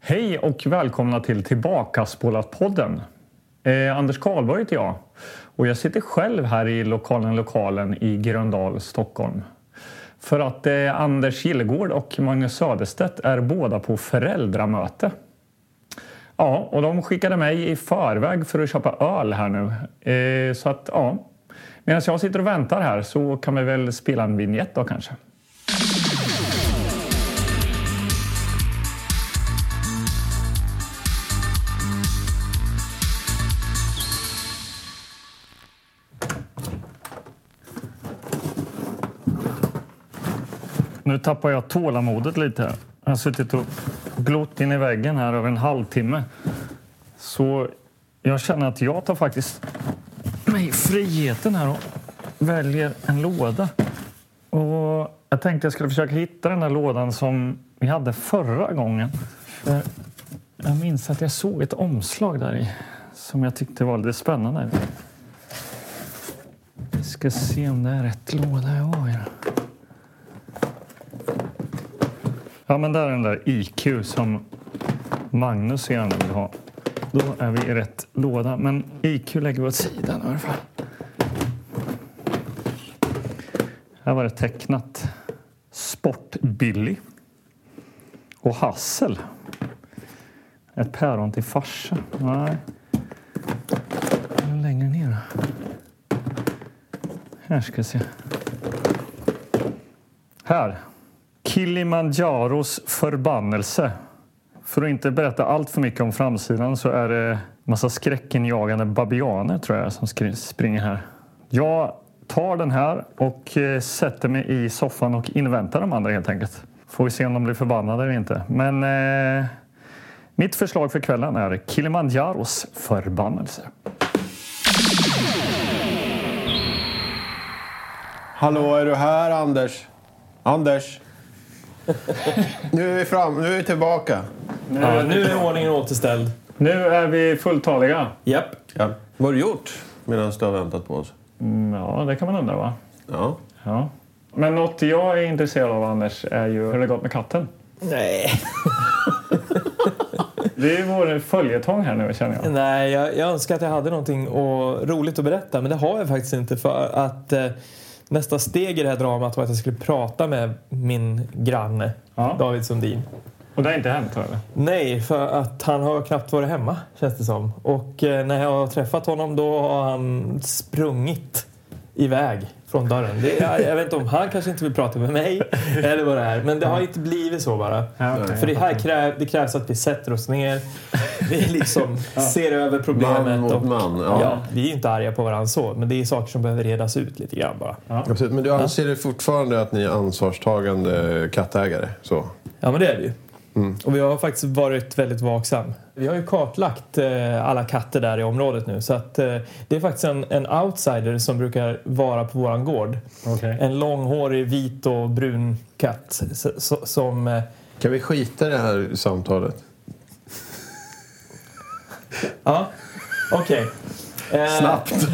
Hej och välkomna till Tillbaka podden eh, Anders Karlberg heter jag och jag sitter själv här i lokalen Lokalen i Gröndal, Stockholm. För att eh, Anders Gillegård och Magnus Söderstedt är båda på föräldramöte. Ja, och de skickade mig i förväg för att köpa öl här nu. Eh, så att ja, medan jag sitter och väntar här så kan vi väl spela en vignett då kanske. Nu tappar jag tålamodet lite. här. Jag har suttit och glott in i väggen här över en halvtimme. Så jag känner att jag tar faktiskt mig friheten här och väljer en låda. Och jag tänkte jag skulle försöka hitta den där lådan som vi hade förra gången. För Jag minns att jag såg ett omslag där i som jag tyckte var lite spännande. Vi ska se om det är rätt låda jag har i den. Ja, men där är den där IQ som Magnus så gärna vill ha. Då är vi i rätt låda, men IQ lägger vi åt sidan i alla fall. Här var det tecknat Sport-Billy och Hassel. Ett päron till farsa. Nej. Det är Längre ner. Här ska vi se. Här. Kilimanjaros förbannelse. För att inte berätta allt för mycket om framsidan så är det massa skräckenjagande babianer tror jag som skri- springer här. Jag tar den här och eh, sätter mig i soffan och inväntar de andra helt enkelt. Får vi se om de blir förbannade eller inte. Men eh, mitt förslag för kvällen är Kilimanjaros förbannelse. Hallå, är du här Anders? Anders? Nu är vi fram, nu är vi tillbaka. Ja, Eh, nu är ordningen återställd. Nu är vi fulltaliga. Japp. Ja. Vad har du gjort medan du har väntat på oss? Mm, Ja, det kan man undra va? Ja. Ja. Men något jag är intresserad av Anders är ju hur det gått med katten. Nej. Det är vår följetong här nu känner jag. Nej, jag, jag önskar att jag hade någonting och roligt att berätta men det har jag faktiskt inte för att eh, nästa steg i det här dramat var att jag skulle prata med min granne Ja. David Sundin. Och det har inte hänt eller? Nej, för att han har knappt varit hemma känns det som. Och eh, när jag har träffat honom då har han sprungit iväg från dörren. Det, jag, jag vet inte om han kanske inte vill prata med mig eller vad det är. Men det har inte blivit så bara. Ja, okej. För det här krä, det krävs att vi sätter oss ner, vi liksom ser över Man problemet. mot Och, man. Ja. ja, vi är ju inte arga på varandra så, men det är saker som behöver redas ut lite grann bara. Absolut. Men du anser fortfarande att ni är ansvarstagande kattägare? Så. Ja, men det är vi ju. Och vi har faktiskt varit väldigt vaksam. Vi har ju kartlagt eh, alla katter där i området nu så att eh, det är faktiskt en, en outsider som brukar vara på våran gård. Okej. En långhårig vit och brun katt s- s- som... Eh, Kan vi skita i det här samtalet? ja, okej. Eh, Snabbt!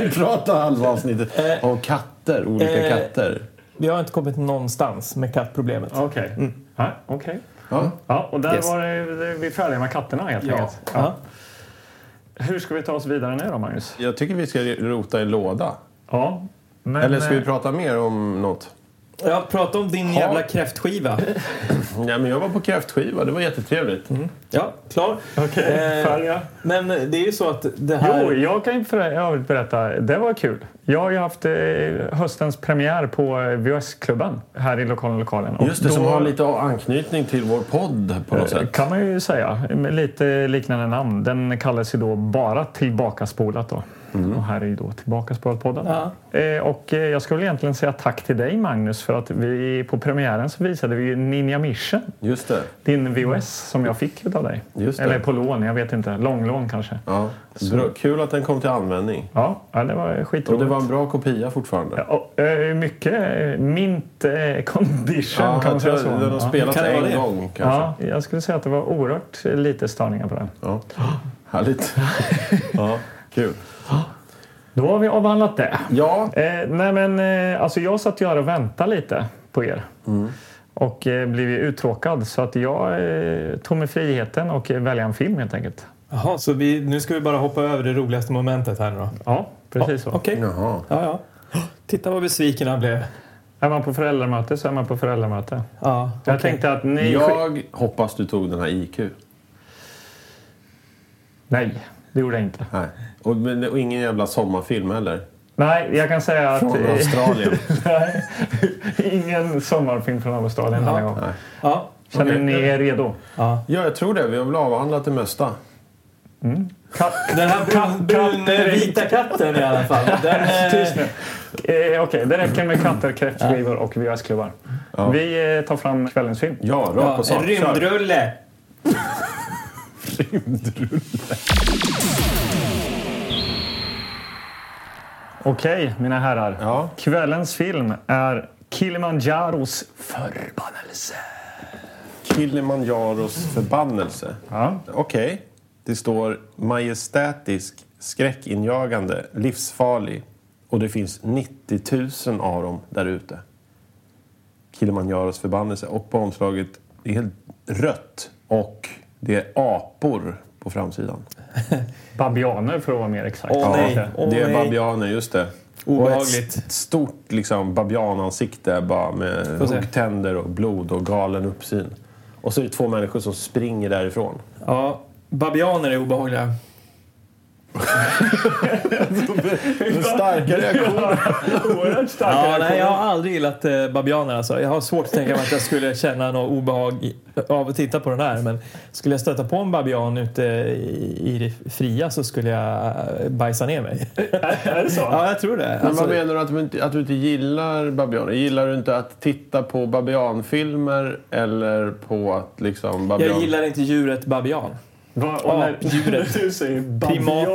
vi pratar halva avsnittet eh, om katter, olika eh, katter. Vi har inte kommit någonstans med kattproblemet. Okej. Mm. Ja, okej. Ja. Ja, och där Yes. var det, det, vi är färdiga med katterna helt enkelt. Ja. Hur ska vi ta oss vidare nu då Magnus? Jag tycker vi ska rota i en låda. Ja. Men, Eller ska vi eh, prata mer om något? Ja, prata om din Ja. jävla kräftskiva. Ja, men jag var på kräftskiva, det var jättetrevligt. Ja, klar. okej, Eh, färdiga. Men det är ju så att det här... Jo, jag kan ju för övrigt berätta. Det var kul. Jag har ju haft eh, höstens premiär på eh, VHS-klubben här i lokalen lokalen. Och Just det, då- som har lite anknytning till vår podd på något sätt. Eh, kan man ju säga. Med lite liknande namn. Den kallas ju då bara Tillbakaspolat. Då. Mm. Och här är ju då Tillbakaspolat-podden. Eh, och eh, jag ska väl egentligen säga tack till dig Magnus för att vi på premiären så visade vi ju Ninja Mission. Just det. Din VHS som jag fick av dig. Just det. Eller på lån, jag vet inte. Långlån kanske. Ja. Bra. Kul att den kom till användning. Ja, ja det var Och skitroligt. det var en bra kopia fortfarande. Och, eh, mycket eh, mint eh, condition Ja, kan man jag säga tror så. den har Ja. spelats Kan det vara en det? gång kanske. Ja, jag skulle säga att det var oerhört eh, lite störningar på den. Ja. Härligt. ja, kul. Då har vi avhandlat det. Ja, Eh, nej men eh, alltså jag satt ju här och väntade lite på er. och eh, blivit uttråkad. Så att jag eh, tog mig friheten och eh, välja en film helt enkelt. Jaha, så vi, nu ska vi bara hoppa över det roligaste momentet här nu då. Ja, precis så. Okej. Jaha. Ja, ja. Titta vad besviken han blev. Är man på föräldramöte så är man på föräldramöte. Ja, Jag okej. tänkte att ni... Jag hoppas du tog den här IQ. Nej, det gjorde jag inte. Nej. Och, men, och ingen jävla sommarfilm heller. Nej, jag kan säga att... Från Australien. Nej, Ingen sommarfilm från Australien denna Ja. gång. Ja, Känner Okej. ni er redo? ja. Ja, jag tror det. Vi har väl avhandlat det mesta. Katt. Den här brun, brun, katter- vita katten i alla fall. Den, Tyst eh, nu. Eh, Okej, det räcker med katter, kräftskivor och VHS-klubbar. Vi eh, tar fram kvällens film. Ja, rakt ja, på en sak. Kör. rymdrulle. Okej, mina herrar. Ja. Kvällens film är Kilimanjaros förbannelse. Kilimanjaros förbannelse. Ja. Okej. Det står majestätisk, skräckinjagande, livsfarlig. Och det finns 90 000 av dem där ute. Kilimanjaros förbannelse. Och på omslaget, det är helt rött. Och det är apor på framsidan. Babianer för att vara mer exakt. Åh, nej. Okej. Åh, det är nej. babianer, just det. Obehagligt. Och ett stort liksom, babianansikte bara med Får se. huggtänder och blod och galen uppsyn. Och så är det två människor som springer därifrån. Ja, babianer är obehagliga. Den starka reaktionen. Oerhört starka Ja, nej, jag reaktioner. har aldrig gillat eh, babianer alltså. Jag har svårt att tänka mig att jag skulle känna något obehag i- av att titta på den här. Men skulle jag stöta på en babian ute i, i det fria så skulle jag eh, bajsa ner mig. Är det så? Ja, jag tror det. Men Alltså, vad menar du att du, inte, att du inte gillar babianer? Gillar du inte att titta på babianfilmer eller på att liksom babian... jag gillar inte djuret babian. Va, och när, Apdjuret. Du säger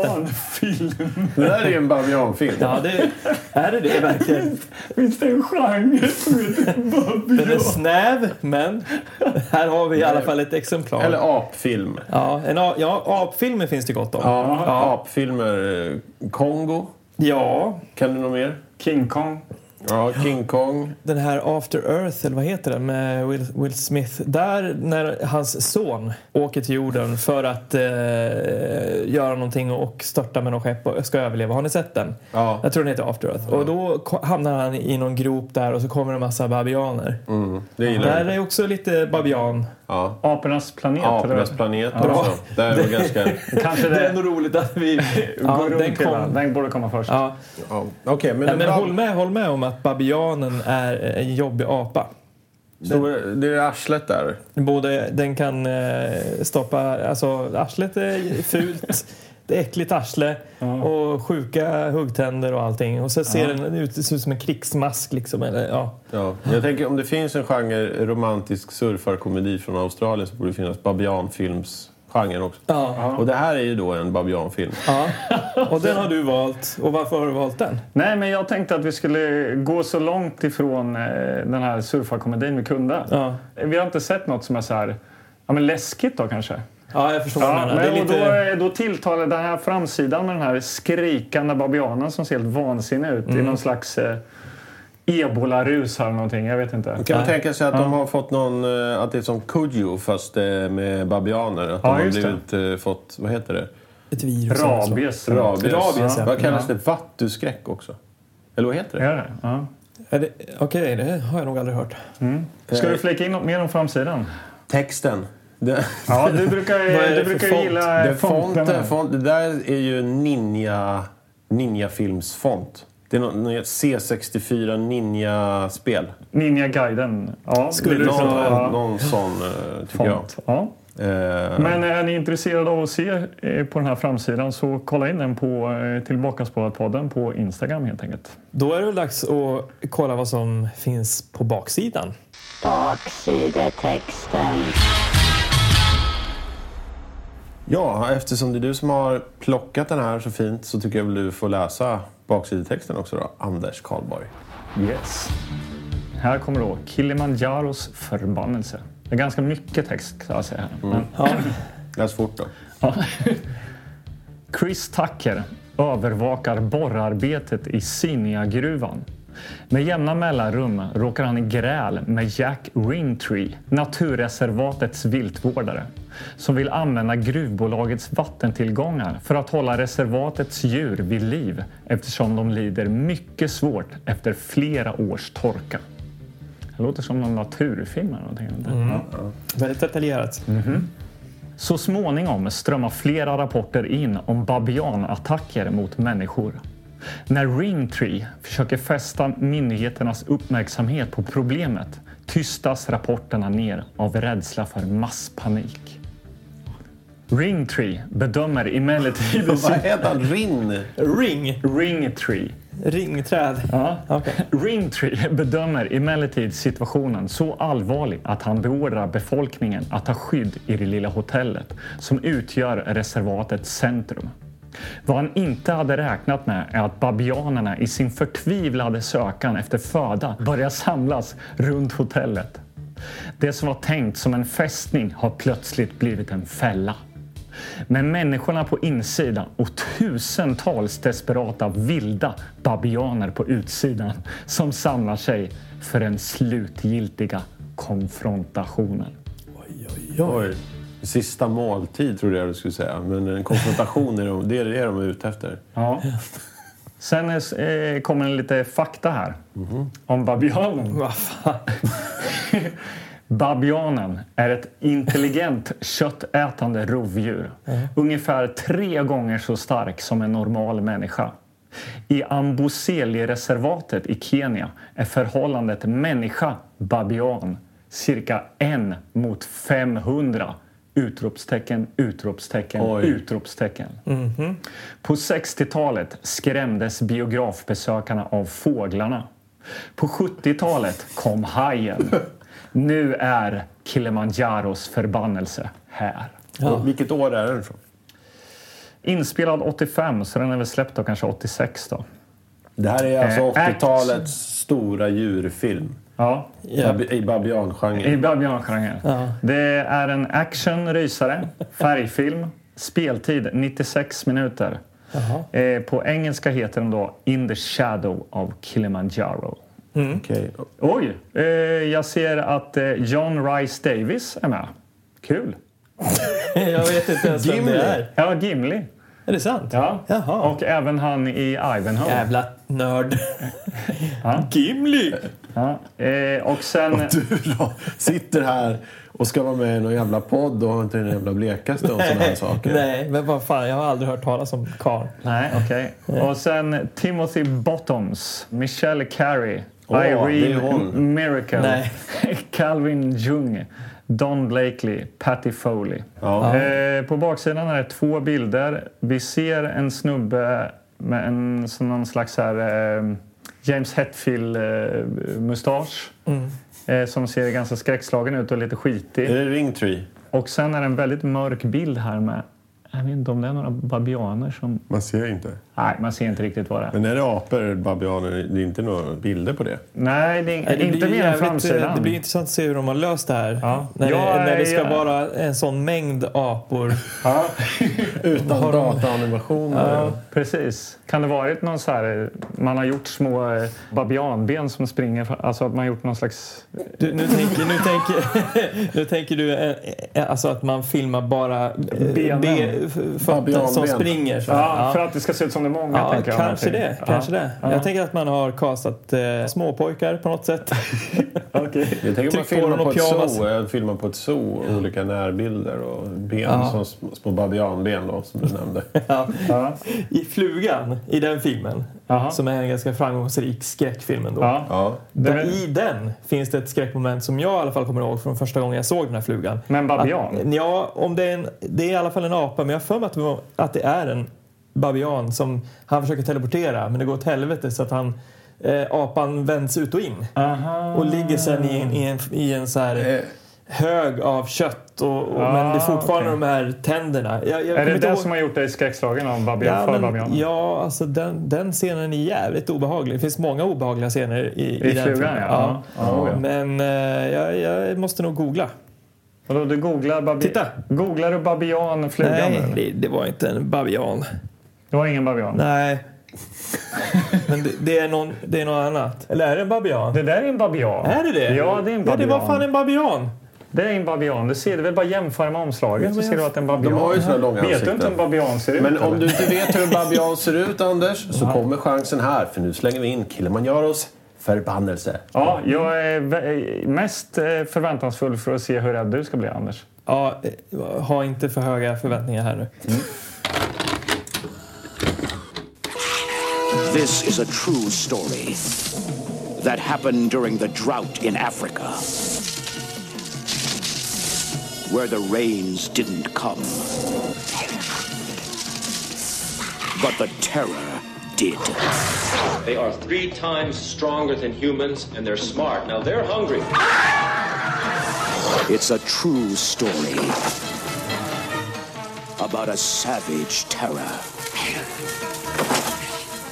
babianfilm. Det där är ju en babianfilm. Ja, det, är det det verkligen? Finns det en genre som heter Den är babian? snäv, men här har vi i alla fall ett exemplar. Eller apfilm. Ja, en, a- ja, apfilmer finns det gott om. Ja. Ja, Apfilmer. eh, Kongo. Kan du något mer? King Kong. Ja, King Kong. den här After Earth, eller vad heter den, med Will, Will Smith. Där när hans son åker till jorden för att eh, göra någonting och störta med något skepp och ska överleva. Har ni sett den? Ja. Jag tror den heter After Earth. Och då ko- hamnar han i någon grop där och så kommer det en massa babianer. Mm, det gillar Där du. är också lite babian. Ja. Apornas planet. Apornas eller? planet Bra. också. Där var ganska... Kanske det. nog roligt att vi Går ja, runt den hela. kom. den borde komma först. Ja. Ja. Okej, men, Nej, men bra- håll med, håll med om att babianen är en jobbig apa. Så det är arslet där. Både, den kan eh, stoppa... Alltså, arslet är fult. Det är äckligt arsle och sjuka huggtänder och allting. Och så ser den ut det ser ut som en krigsmask. Liksom, eller, ja. Ja. Jag tänker om det finns en genre romantisk surfarkomedi från Australien så borde det finnas babianfilmsgenren också. Ja. Och det här är ju då en babianfilm. ja. Och den har du valt. Och varför har du valt den? Nej, men jag tänkte att vi skulle gå så långt ifrån eh, den här surfarkomedin vi kunde. Ja, Vi har inte sett något som är så här, ja, men läskigt då kanske. ja jag förstår vad Ja, du menar. men, Det är och då, lite... är- då tilltalar den här framsidan med den här skrikande babianen som ser helt vansinnig ut Mm. i någon slags eh, ebolarus här eller någonting. Jag vet inte. Kan man tänka sig att de har fått någon... eh, Att det är som Kujo fast eh, med babianer. Att Ja, de har just det. blivit eh, fått... Vad heter det? Ett virus. också. Rabies. Rabies. Rabies, ja. Vad kallas Ja. det? Vattuskräck också? Eller vad heter det? Är det? Ja. Är det- Okej, det har jag nog aldrig hört. Ska du flika in något mer om framsidan? Texten. Det, Ja, du brukar, Vad är du det för brukar font? gilla det, fonten. fonten, här. font, det där är ju ninja, ninja-filmsfont. Det är någon, någon C64 ninja-spel. Ninja-guiden. Ja, Skulle lite du Någon, så. Ja, någon sån, eh, tycker font. Ja. jag. Eh, Men är ni intresserade av att se eh, på den här framsidan så kolla in den på eh, Tillbakaspårat-podden på Instagram helt enkelt. Då är det väl dags att kolla vad som finns på baksidan. Baksidetexten. Ja, eftersom det är du som har plockat den här så fint så tycker jag väl du får läsa baksidetexten också då, Anders Karlborg. Yes. Här kommer då Kilimanjaros förbannelse. Det är ganska mycket text ska jag säga. här. Men Läs fort då. Ja. Chris Tucker övervakar borrarbetet i Sinjagruvan Med jämna mellanrum råkar han i gräl med Jack Ringtree, naturreservatets viltvårdare, som vill använda gruvbolagets vattentillgångar för att hålla reservatets djur vid liv eftersom de lider mycket svårt efter flera års torka. Det låter som någon naturfilm eller någonting. Väldigt detaljerat. Mm. Så småningom strömmar flera rapporter in om babianattacker mot människor. När Ringtree försöker fästa myndigheternas uppmärksamhet på problemet tystas rapporterna ner av rädsla för masspanik. Ringtree bedömer emellertid... Vad hette han? Rin? Ring. Ringtree. Ringträd. Ja. Okej. Ringtree bedömer emellertid situationen så allvarlig att han beordrar befolkningen att ta skydd i det lilla hotellet som utgör reservatets centrum. Vad han inte hade räknat med är att babianerna i sin förtvivlade sökan efter föda börjar samlas runt hotellet. Det som var tänkt som en fästning har plötsligt blivit en fälla. Men människorna på insidan och tusentals desperata vilda babianer på utsidan som samlar sig för den slutgiltiga konfrontationen. Oj. Sista måltid trodde jag du skulle säga. Men en konfrontation är de, det är det de är ute efter. Ja. Sen är- eh, kommer en lite fakta här om babianen. Vad fan. Babianen är ett intelligent köttätande rovdjur. Ungefär tre gånger så stark som en normal människa. I Amboseli-reservatet i Kenya är förhållandet människa-babian cirka en mot 500. Utropstecken, utropstecken, Oj. utropstecken. På 60-talet skrämdes biografbesökarna av fåglarna. På 70-talet kom hajen. Nu är Kilimanjaros förbannelse här. Och vilket år är den från? Inspelad 85, så den är väl släppt då kanske 86 då. Det här är alltså Eh, 80-talets stora djurfilm. Ja, Ja. Babi- I babiangenren. Mm. i babiangenren. Ja. Det är en actionrysare, färgfilm, speltid 96 minuter. Jaha. Eh, på engelska heter den då In the shadow of Kilimanjaro. Okej. Oj! Eh, jag ser att eh, John Rice Davis är med. Kul! Jag vet inte ens vem Gimli. det är. Ja, Gimli. Är det sant? Ja. Jaha. Och även han i Ivanhoe. Jävla nörd. Ja. Gimli! Ja. Eh, och sen... Du då, sitter här och ska vara med i någon jävla podd och har inte den jävla blekaste om sådana här saker. Nej, men vad fan. Jag har aldrig hört talas om karln. Nej, okej. Och sen Timothy Bottoms, Michelle Carey, Åh, det är Irene hon. Miracle, Nej. Calvin Jung, Don Blakely, Patty Foley. Ja. Eh, på baksidan är det två bilder. Vi ser en snubbe med en sån någon slags så här, eh, James Hetfield-mustasch. Eh, som ser ganska skräckslagen ut och lite skitig. Är Mm. det Ringtree? Och sen är det en väldigt mörk bild här med... Jag vet inte om det är några babianer som... Man ser inte. Nej, man ser inte riktigt vad det är. Men är det apor eller babianer? Det är inte några bilder på det. Nej, det är Det inte blir mer än jävligt, framsidan. eh, det blir intressant att se hur de har löst det här. Ja. När, Jag det, när det ska är- vara en sån mängd apor. Ja, Utan Har de- dataanimationer. precis. Kan det varit någon så här... eh, Man har gjort små eh, babianben som springer... fra- Alltså att man har gjort någon slags... Du, nu, tänker, nu, tänker, nu tänker du eh, eh, alltså att man filmar bara eh, Benen. be- f- fötter som Babianben. springer. Så. Ja, här. för att det ska se ut som det är många, Ja, tänker jag. kanske någonting. det. Kanske ja. det. Jag tänker att man har kastat eh, småpojkar på något sätt. Okej. Jag tänker man Tryck på filmar den och på, ett pyjamas. zoo. Jag filmar på ett zoo. Olika närbilder och ben. Ja. Som sm- små babianben då, som du nämnde. Ja. Ja. I Flugan, i den filmen, Jaha. som är en ganska framgångsrik skräckfilm ändå. Ja. Ja. Det är Där, väl- I den finns det ett skräckmoment som jag i alla fall kommer ihåg från första gången jag såg den här flugan. Men babian? Att, ja, om det, är en, det är i alla fall en apa, men jag har för mig att det, var, att det är en babian som han försöker teleportera, men det går åt helvete så att han, eh, apan vänds ut och in Aha. och ligger sen i en, i en, i en så här Eh, hög av kött, och, och, men det är fortfarande Ah, okej. de här tänderna. Jag, jag Är kommer det inte det ihåg- som har gjort dig skräckslagen av babian, Ja, för men- babianen? ja, alltså den, den scenen är jävligt obehaglig. Det finns många obehagliga scener i, i, I den flugan, filmen. ja. Ja. Ja, ja. Men eh, jag, jag måste nog googla. Vadå, du googlar babi... Titta. Googlar du babian flugan? Nej, eller? det, det var inte en babian. Det var ingen babian? Nej. Men det, det, är någon, det är något annat. Eller är det en babian? Det där är en babian. Är det det? Ja, det är en Ja, det babian. var fan en babian. Det är en babian. Du ser, det väl bara jämföra med omslaget Ja, så men ser du jag- att det är en babian. De har ju såna långa Vet du inte hur en ansikten. babian ser ut? Men om eller? du inte vet hur en babian ser ut, Anders, så kommer chansen här. För nu slänger vi in Kilimanjaros förbannelse. Ja, jag är vä- mest eh, förväntansfull för att se hur rädd du ska bli, Anders. Ja, eh, ha inte för höga förväntningar här nu. This is a true story that happened during the drought in Africa, where the rains didn't come, but the terror did. They are three times stronger than humans, and they're smart. Now they're hungry. It's a true story about a savage terror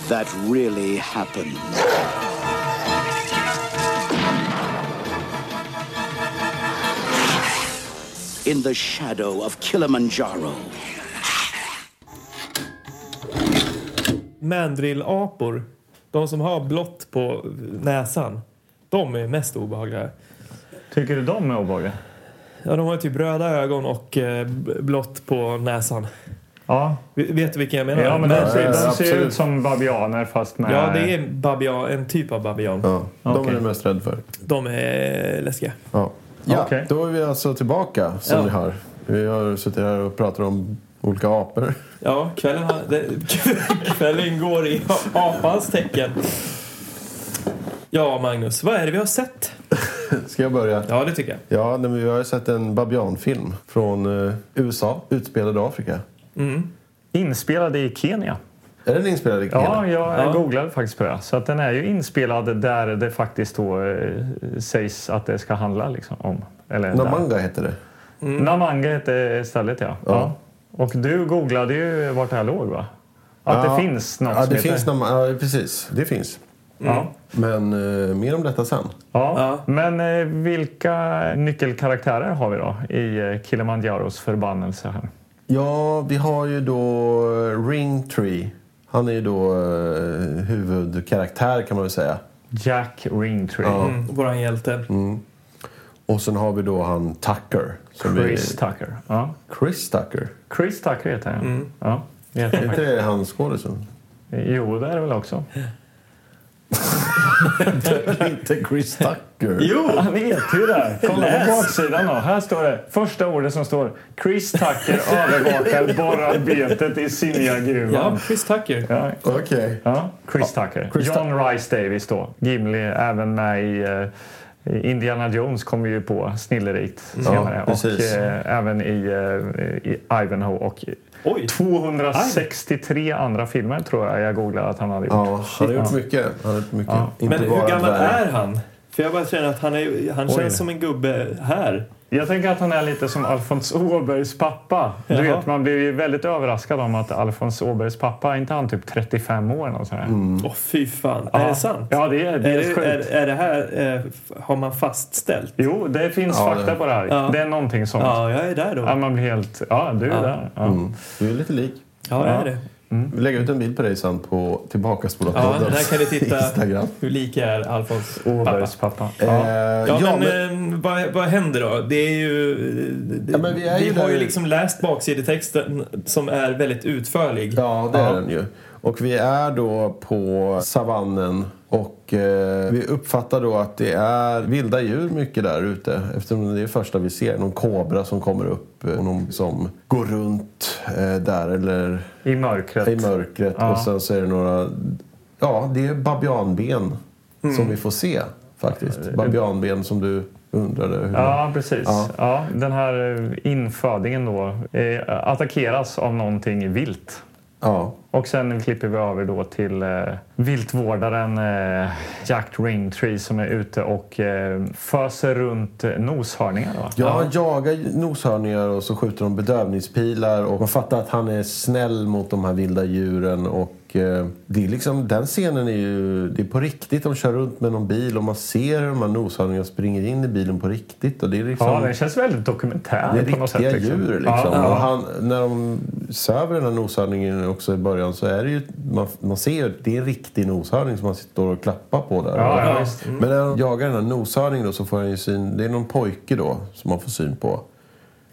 that really happened. In the shadow of Kilimanjaro. Mandrillapor, de som har blått på näsan, de är mest obehagliga. Tycker du de är obehagliga? Ja, de har typ röda ögon och eh, b- blått på näsan. Ja, V- Vet du vilken jag menar? ja men de ser, de ser absolut. ut som babianer fast med... Ja, det är babian, en typ av babian. Ja, de Okej. är du mest rädd för. De är eh, läskiga. Ja, ja Okej. då är vi alltså tillbaka som Ja. ni hör. Vi har suttit här och pratat om olika apor. Ja, kvällen, har, det, kvällen går i apans tecken. Ja, Magnus, vad är det vi har sett? Ska jag börja? Ja, det tycker jag. Ja, nej, men vi har ju sett en babianfilm från eh, USA, utspelad i Afrika. Inspelade i Kenya. Är den inspelad i Ja, Kenya? jag Ja. googlade faktiskt på det. Så att den är ju inspelad där det faktiskt då eh, sägs att det ska handla liksom, om. Eller där. Namanga heter det. Mm. Namanga hette stället, ja. ja. Och du googlade ju vart det här låg, va? Att Ja. det finns något Ja, som det heter- finns Namanga. Ja, precis. Det finns. ja. Men eh, mer om detta sen. Ja. Men eh, vilka nyckelkaraktärer har vi då i eh, Kilimanjaros förbannelse? här? Ja, vi har ju då Ringtree. Han är ju då eh, huvudkaraktär kan man väl säga. Jack Ringtree. Mm, våran hjälte. Och sen har vi då han Tucker. som Chris är- Tucker. Ja. Chris Tucker. Chris Tucker heter han, ja. ja. det heter han Är faktiskt. inte det han skådisen? Jo, det är det väl också. inte Chris Tucker. Jo! Han heter ju det. Kolla på baksidan då. Här står det. Första ordet som står. Chris Tucker övervakar borrarbetet i Ja, Sinjagruvan. Chris Tucker. Ja. Okej. Ja, Chris Tucker. Chris John Rice Davis då. Gimli även med i eh, Indiana Jones kommer ju på snillerikt senare. och precis. eh, även i, eh, i Ivanhoe och Oj! 263 andra filmer tror jag jag googlade att han hade gjort. Ja, han har gjort mycket. Han har gjort mycket. Inte Men hur bara gammal dvärg. är han? För jag bara känner att han, är, han känns som en gubbe här. Jag tänker att han är lite som Alfons Åbergs pappa. Du Jaha. vet, man blir ju väldigt överraskad om att Alfons Åbergs pappa, är inte han typ 35 år? Något sånt där? Mm. Åh, fy fan. Ja. Är det sant? Ja, det är, det Är är, det, sjukt. är, är det här, eh, f- har man fastställt? Jo, det finns Ja, fakta det- på det här. Ja. Det är någonting sånt. Ja, jag är där då. Ja, Ja, man blir helt... Ja, du är där. Ja. Du är lite lik. jag är det. Vi lägger ut en bild på dig sen på Ja, Tillbakaspolat-podden. där kan ni titta Instagram. hur lik jag är Alfons pappa. Åbergs pappa. Eh, Ja. ja, Ja, men, men- eh, vad, vad händer då? Det är ju... Det, Ja, men vi är ju har där- ju liksom läst baksidetexten som är väldigt utförlig. Ja, det är den ju. Och vi är då på savannen och eh, vi uppfattar då att det är vilda djur mycket där ute eftersom det är första vi ser. Någon kobra som kommer upp eh, och någon som går runt eh, där eller I mörkret. i mörkret Ja. och sen så är det några... Ja, det är babianben Mm. som vi får se faktiskt. Babianben som du undrade hur... Ja, precis. Ja. den här eh, infödingen då eh, attackeras av någonting vilt. ja. Och sen klipper vi över då till eh, viltvårdaren eh, Jack Ringtree som är ute och eh, föser runt eh, noshörningar. Va? Ja, han jagar noshörningar och så skjuter de bedövningspilar. Och man fattar att han är snäll mot de här vilda djuren och Och eh, det är liksom, den scenen är ju det är på riktigt. De kör runt med någon bil och man ser hur de här noshörningarna springer in i bilen på riktigt. Och det är liksom, Ja, det känns väldigt dokumentär det är på något sätt. riktiga djur liksom. Ja, Och ja. han, när de söver den här noshörningen också i början så är det ju, man, man ser ju att det är en riktig noshörning som man står och klappar på där. Mm. Ja, ja, visst. Men när de jagar den här noshörningen då så får han ju syn, det är någon pojke då som man får syn på.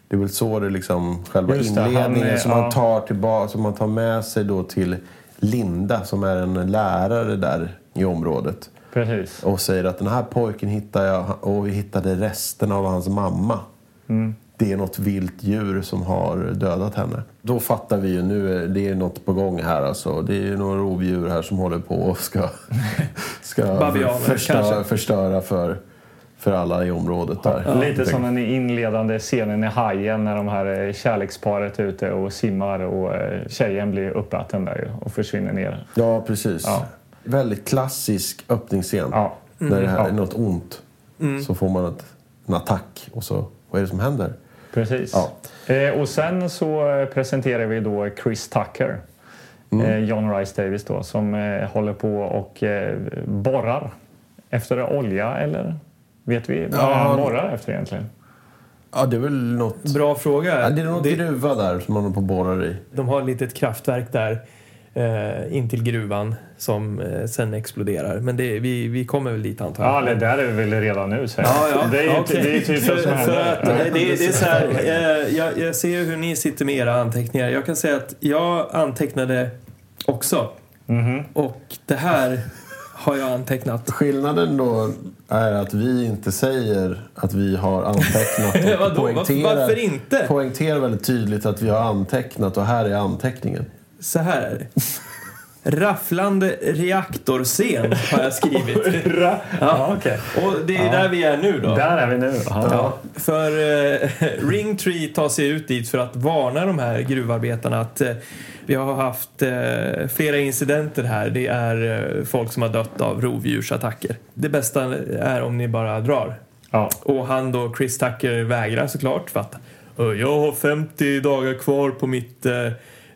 Det är väl så det liksom, själva Just det, han inledningen är- som, ja. han tar tillbaka, som man tar med sig då till Linda som är en lärare där i området Precis. och säger att den här pojken hittade jag och vi hittade resten av hans mamma. Mm. Det är något vilt djur som har dödat henne. Då fattar vi ju nu är det är något på gång här alltså. Det är ju några rovdjur här som håller på och ska, ska Babianer, förstöra, kanske. förstöra för, för alla i området där. Lite som den inledande scenen i Hajen när de här eh, kärleksparet är ute och simmar och eh, tjejen blir uppäten där ju och försvinner ner. Ja, precis. Ja. Väldigt klassisk öppningsscen. Ja. Mm. När det här Ja. Mm. är något ont så får man ett, en attack och så, vad är det som händer? Precis. Eh, och sen så eh, presenterar vi då Chris Tucker, eh, John Rice Davis då, som eh, håller på och eh, borrar efter olja eller vet vi vad Ja. han borrar efter egentligen? Ja, det är väl något... Bra fråga. Ja, det är någon gruva där som man håller på och borrar i. De har ett litet kraftverk där eh, intill gruvan som eh, sen exploderar. Men det, vi, vi kommer väl dit antagligen. Ja, det där är vi väl redan nu säger jag. Det är ju okej. det är ju typ det som För- för att, händer. eh, det, det är så här, eh, jag, jag ser ju hur ni sitter med era anteckningar. Jag kan säga att jag antecknade också. Mhm. Och det här har jag antecknat. Skillnaden då är att vi inte säger att vi har antecknat och Vadå? poängterar, Varför inte? poängterar väldigt tydligt att vi har antecknat och här är anteckningen. Så här är det. Rafflande reaktorscen har jag skrivit. Bra. Ja, okej. Och det är där vi är nu då. Där är vi nu. Ja. Ja, för eh, Ringtree tar sig ut dit för att varna de här gruvarbetarna att eh, vi har haft eh, flera incidenter här. Det är eh, folk som har dött av rovdjursattacker. Det bästa är om ni bara drar. Ja. Och han då, Chris Tucker, vägrar såklart för att "Eh, jag har 50 dagar kvar på mitt eh,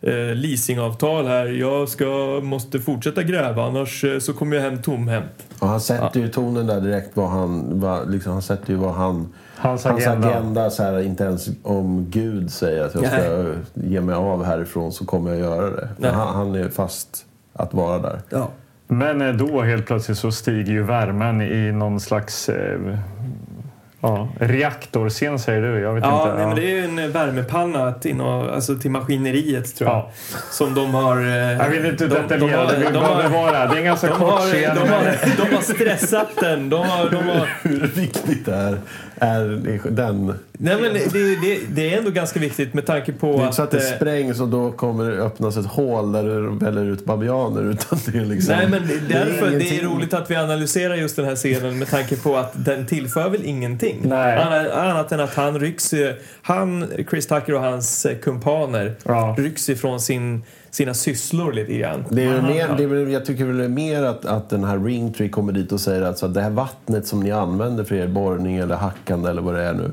eh, leasingavtal här. Jag ska, måste fortsätta gräva annars eh, så kommer jag hem tomhänt. Och han sätter ju tonen där direkt. Vad han, vad, liksom, han sätter ju vad han... Hans agenda. så här, inte ens om Gud säger att jag ska Nej. ge mig av härifrån så kommer jag göra det. Men Nej. Han, han är fast att vara där. Ja. Men eh, då helt plötsligt så stiger ju värmen i någon slags eh, ja, reaktorscen säger du. Jag vet Ja, inte. nej, Ja. men det är ju en eh, värmepanna till, nå- alltså till maskineriet tror jag. Ja. Som de har... eh, Jag vill inte de- detaljera de det. har- Vi de behöver har- vara det. Det är en ganska De kort har, scen. de, men- har, de har stressat den. De har, de har, Hur viktigt det är, är den nej, men det, det, det är ändå ganska viktigt med tanke på Det är att... inte så att det eh, sprängs och då kommer det öppnas ett hål där det väller ut babianer. Utan det är liksom, Nej, men det- därför det är, ingenting. roligt att vi analyserar just den här scenen med tanke på att den tillför väl ingenting. Nej. Anna- Annat än att han rycks, eh, han, Chris Tucker och hans eh, kumpaner Ja. rycks ifrån sin, sina sysslor lite grann. Det är väl mer, det är, väl- jag tycker väl det är mer att, att den här Ringtree kommer dit och säger att så att det här vattnet som ni använder för er borrning eller hackande eller vad det är nu.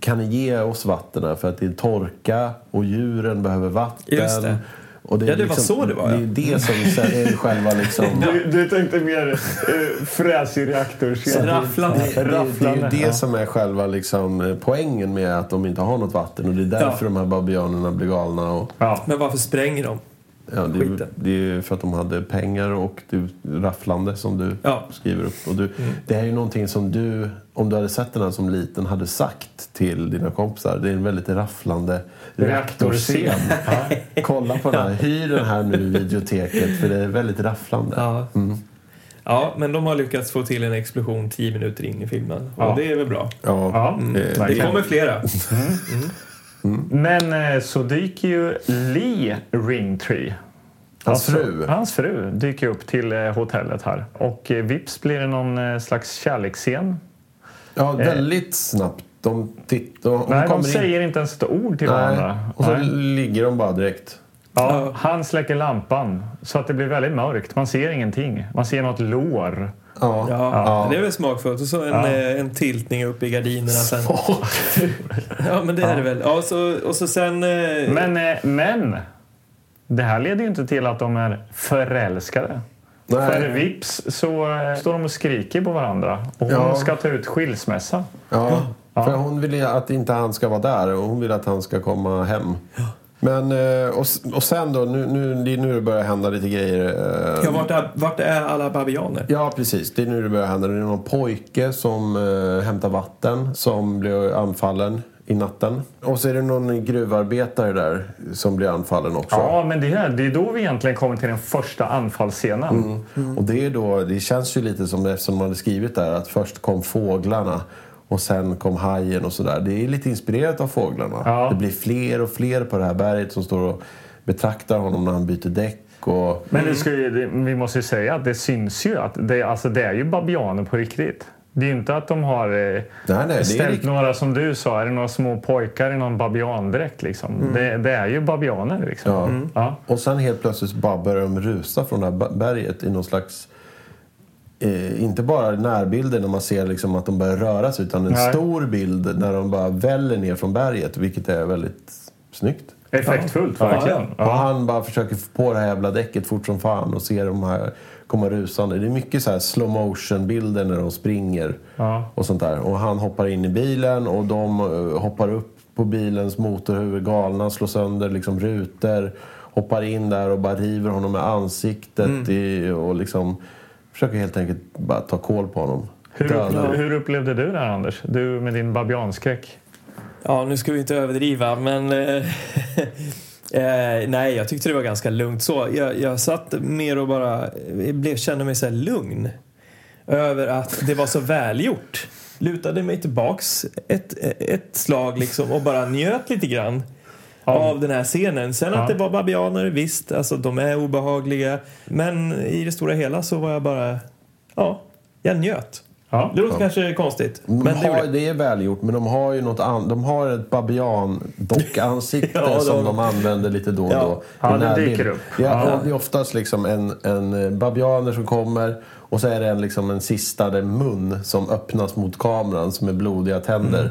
Kan ni ge oss vatten här? För att det är torka och djuren behöver vatten. Just det. Och det är liksom- Ja, det var så det var, Det ja. är ju det som är själva liksom... Du, du tänkte mer eh, fräsig reaktorscen. Rafflande. Det, det är ju Rafflande, det ja. som är själva liksom eh, poängen med att de inte har något vatten. Och det är därför Ja. de här babianerna blir galna. Och, Ja. Men varför spränger de? ja, det, är ju- Skiten. det är ju för att de hade pengar och du, rafflande som du Ja. skriver upp. Och du, Mm. Det här är ju någonting som du, om du hade sett den här som liten, hade sagt till dina kompisar. Det är en väldigt rafflande Reaktorscen. reaktorscen. Ja. Kolla på den här. Hyr den här nu i videoteket för det är väldigt rafflande. Ja. ja, men de har lyckats få till en explosion tio minuter in i filmen. Och Ja. det är väl bra. Ja. Ja, Det verkligen. kommer flera. Men eh, så dyker ju Lee Ringtree Hans Alltså, fru. Hans fru dyker upp till eh, hotellet här. Och eh, vips blir det någon eh, slags kärleksscen. Ja, väldigt snabbt. De, titt, de, hon Eh. Nej, kommer de in. säger inte ens ett ord till varandra. Och så Nej. ligger de bara direkt. Ja, han släcker lampan så att det blir väldigt mörkt. Man ser ingenting. Man ser något lår. Ja. Ja, Det är väl smakfullt. Och så en, eh, en tiltning upp i gardinerna sen. Ja, men det är det väl. Ja, så, och så sen... eh, Men, eh, men Det här leder ju inte till att de är förälskade. Nej. För vips så eh, står de och skriker på varandra och hon Ja. ska ta ut skilsmässa. Ja, för hon vill ju att inte han ska vara där och hon vill att han ska komma hem. Men, eh, och, s- och sen då, nu, nu, det är nu det börjar hända lite grejer. eh, Ja, vart, är, vart är alla babianer? Ja, precis. Det är nu det börjar hända. Det är någon pojke som eh, hämtar vatten som blir anfallen i natten. Och så är det någon gruvarbetare där som blir anfallen också. Ja, men det, här, det är då vi egentligen kommer till den första anfallsscenen. Mm. Och det, är då, det känns ju lite som det som man hade skrivit där att först kom fåglarna och sen kom hajen och sådär. Det är lite inspirerat av fåglarna. Ja. Det blir fler och fler på det här berget som står och betraktar honom när han byter däck. Och, Men det ska ju, det, vi måste ju säga att det syns ju att det, alltså det är ju babianer på riktigt. Det är ju inte att de har eh, nej, nej, det är ställt riktigt. några, som du sa, är det några små pojkar i någon babiandräkt. Liksom. Det, det är ju babianer. Liksom. Mm. Ja. Ja. Och sen helt plötsligt så bara börjar de rusa från det här ba- berget i någon slags... Eh, inte bara närbilder när man ser liksom att de börjar röra sig utan en Nej. stor bild när de bara väller ner från berget vilket är väldigt snyggt. Effektfullt, Ja. verkligen. Och Ja. han bara försöker få på det här jävla däcket fort som fan och ser de här komma rusande. Det är mycket så här slow motion bilder när de springer Ja. och sånt där. Och han hoppar in i bilen och de eh, hoppar upp på bilens motorhuvud galna, slår sönder liksom rutor, hoppar in där och bara river honom i ansiktet Mm. i, och liksom försöker helt enkelt bara ta koll på honom. Hur, Döda honom. upplevde, hur upplevde du det här, Anders? Du med din babianskräck. Ja, nu ska vi inte överdriva, men... Eh, eh, nej, jag tyckte det var ganska lugnt så. Jag, jag satt mer och bara eh, blev, kände mig så här lugn över att det var så välgjort. Lutade mig tillbaks ett, ett slag liksom och bara njöt lite grann av den här scenen. Sen att det var babianer, visst, alltså de är obehagliga. Men i det stora hela så var jag bara, ja, jag njöt. Ja. Det låter kanske konstigt, De men det gjorde har, jag. det är välgjort, men de har ju något an, de har ett babian-dockansikte Ja, de- som de använder lite då och Ja. då. Ja, Den den här dyker bilden. upp. Ja, Ja. och Det är oftast liksom en, en eh, babianer som kommer och så är det en, liksom en sista där mun som öppnas mot kameran som är blodiga tänder.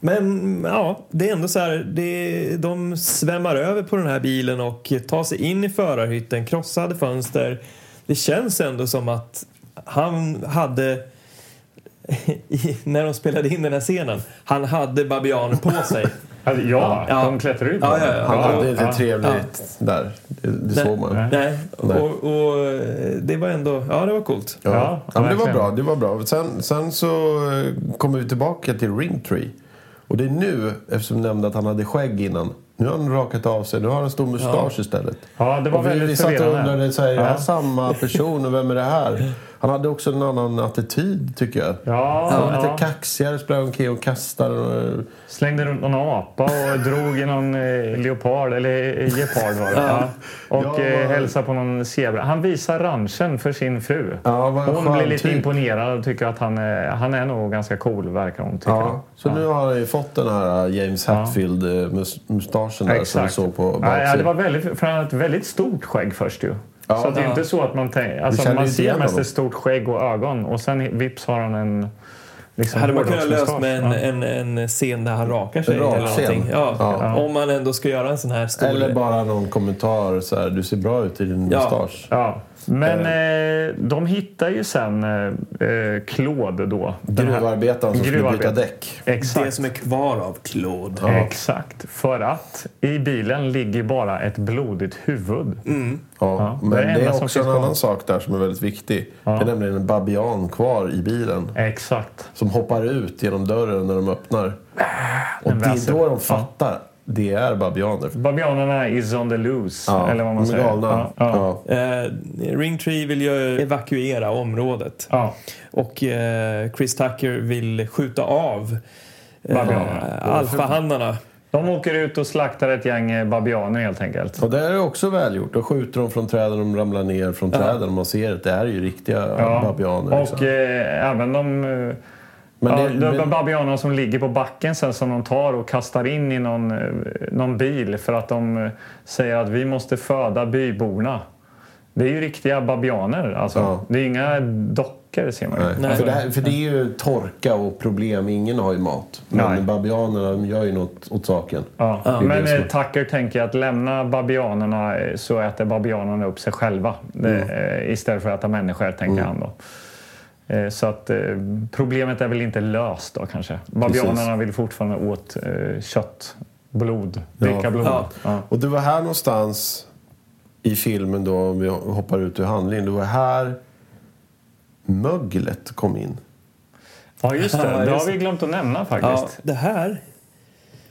Men ja, det är ändå så här. Det, de svämmar över på den här bilen och tar sig in i förarhytten, krossade fönster. Det känns ändå som att han hade, i- när de spelade in den här scenen, han hade babianer på sig. Alltså, Ja, Ja. de klättrar ut. Ja, ja, ja. Han hade inte ja. trevligt där. Det, det såg man. Ja, Nej, och, och eh, det var ändå, ja det var coolt. Ja, ja, men det var verkligen. bra. Det var bra. Sen, sen så eh, kommer vi tillbaka till Ringtree. Och det är nu, eftersom du nämnde att han hade skägg innan. Nu har han rakat av sig. Nu har han en stor mustasch istället. Ja, det var och vi, väldigt vi satt och förvirrande. undrade, så här, är det här Ja. samma person och vem är det här? Han hade också en annan attityd tycker jag. Ja, han var ja. lite kaxigare, sprang omkring och kastade. Och, Slängde runt någon apa och drog i någon eh, leopard, eller eh, gepard var det. Ja. Och Ja, eh, vad- hälsade på någon zebra. Han visar ranchen för sin fru. Ja, vad en hon skön blir lite typ. imponerad och tycker att han är, han är nog ganska cool, verkar hon tycka. ja. Så nu har han ju fått den här eh, James Hatfield-mustaschen där som vi Exakt. såg på ja, ja, det baksidan. var väldigt, för han hade ett väldigt stort skägg först ju. Ja. så att det är inte så att man tänker... Alltså, känner man ju inte ser igen mest honom. ett stort skägg och ögon och sen vips har han en... Liksom, Hade man kunnat löst hårdrocksmustasch. med en, Ja. en, en scen där han rakar sig En rak eller någonting. scen. Ja, Ja. Om man ändå ska göra en sån här stor... Eller bara någon kommentar så här, du ser bra ut i din Ja. mustasch. Ja, men eh, de hittar ju sen eh, eh, Claude då. Den här- Gruvarbetaren som skulle byta Gruvarbetaren. däck. Exakt. Det som är kvar av Claude. Exakt. För att i bilen ligger bara ett blodigt huvud. Ja, men det det är är, det enda som också en finns kvar. annan sak där som är väldigt viktig. Det är nämligen en babian kvar i bilen Exakt. som hoppar ut genom dörren när de öppnar. Och Äh, den det är väser. då de fattar. Det är babianer. Babianerna is on the loose, eller vad man de är säger. galna. Ja, ja. Eh, Ringtree vill ju evakuera området Ja. och eh, Chris Tucker vill skjuta av Babianerna. eh, alfahannarna. De åker ut och slaktar ett gäng eh, babianer helt enkelt. Och det är också välgjort. Då skjuter de från träden, de ramlar ner från träden. Man ser att det här är ju riktiga babianer. liksom. Och eh, även de, eh, Men ja, det- de men- babianerna som ligger på backen sen som de tar och kastar in i någon, eh, någon bil för att de eh, säger att vi måste föda byborna. Det är ju riktiga babianer. Alltså. Ja. Det är inga dockor böcker ser man ju. Nej. Nej. För, det här, för det är ju torka och problem. Ingen har ju mat. Men Nej. babianerna de gör ju något åt saken. Ja. det Men som är- eh, Tucker tänker att lämna babianerna eh, så äter babianerna upp sig själva Det, eh, istället för att äta människor, tänker han då. Eh, Så att eh, problemet är väl inte löst då kanske. Babianerna vill fortfarande åt eh, kött, blod, dricka blod. Ja. Ja. Och det var här någonstans i filmen då, om vi hoppar ut ur handlingen. Det var här möglet kom in. Ja, just det. Ja, det just har vi glömt att nämna Ja, faktiskt. det här,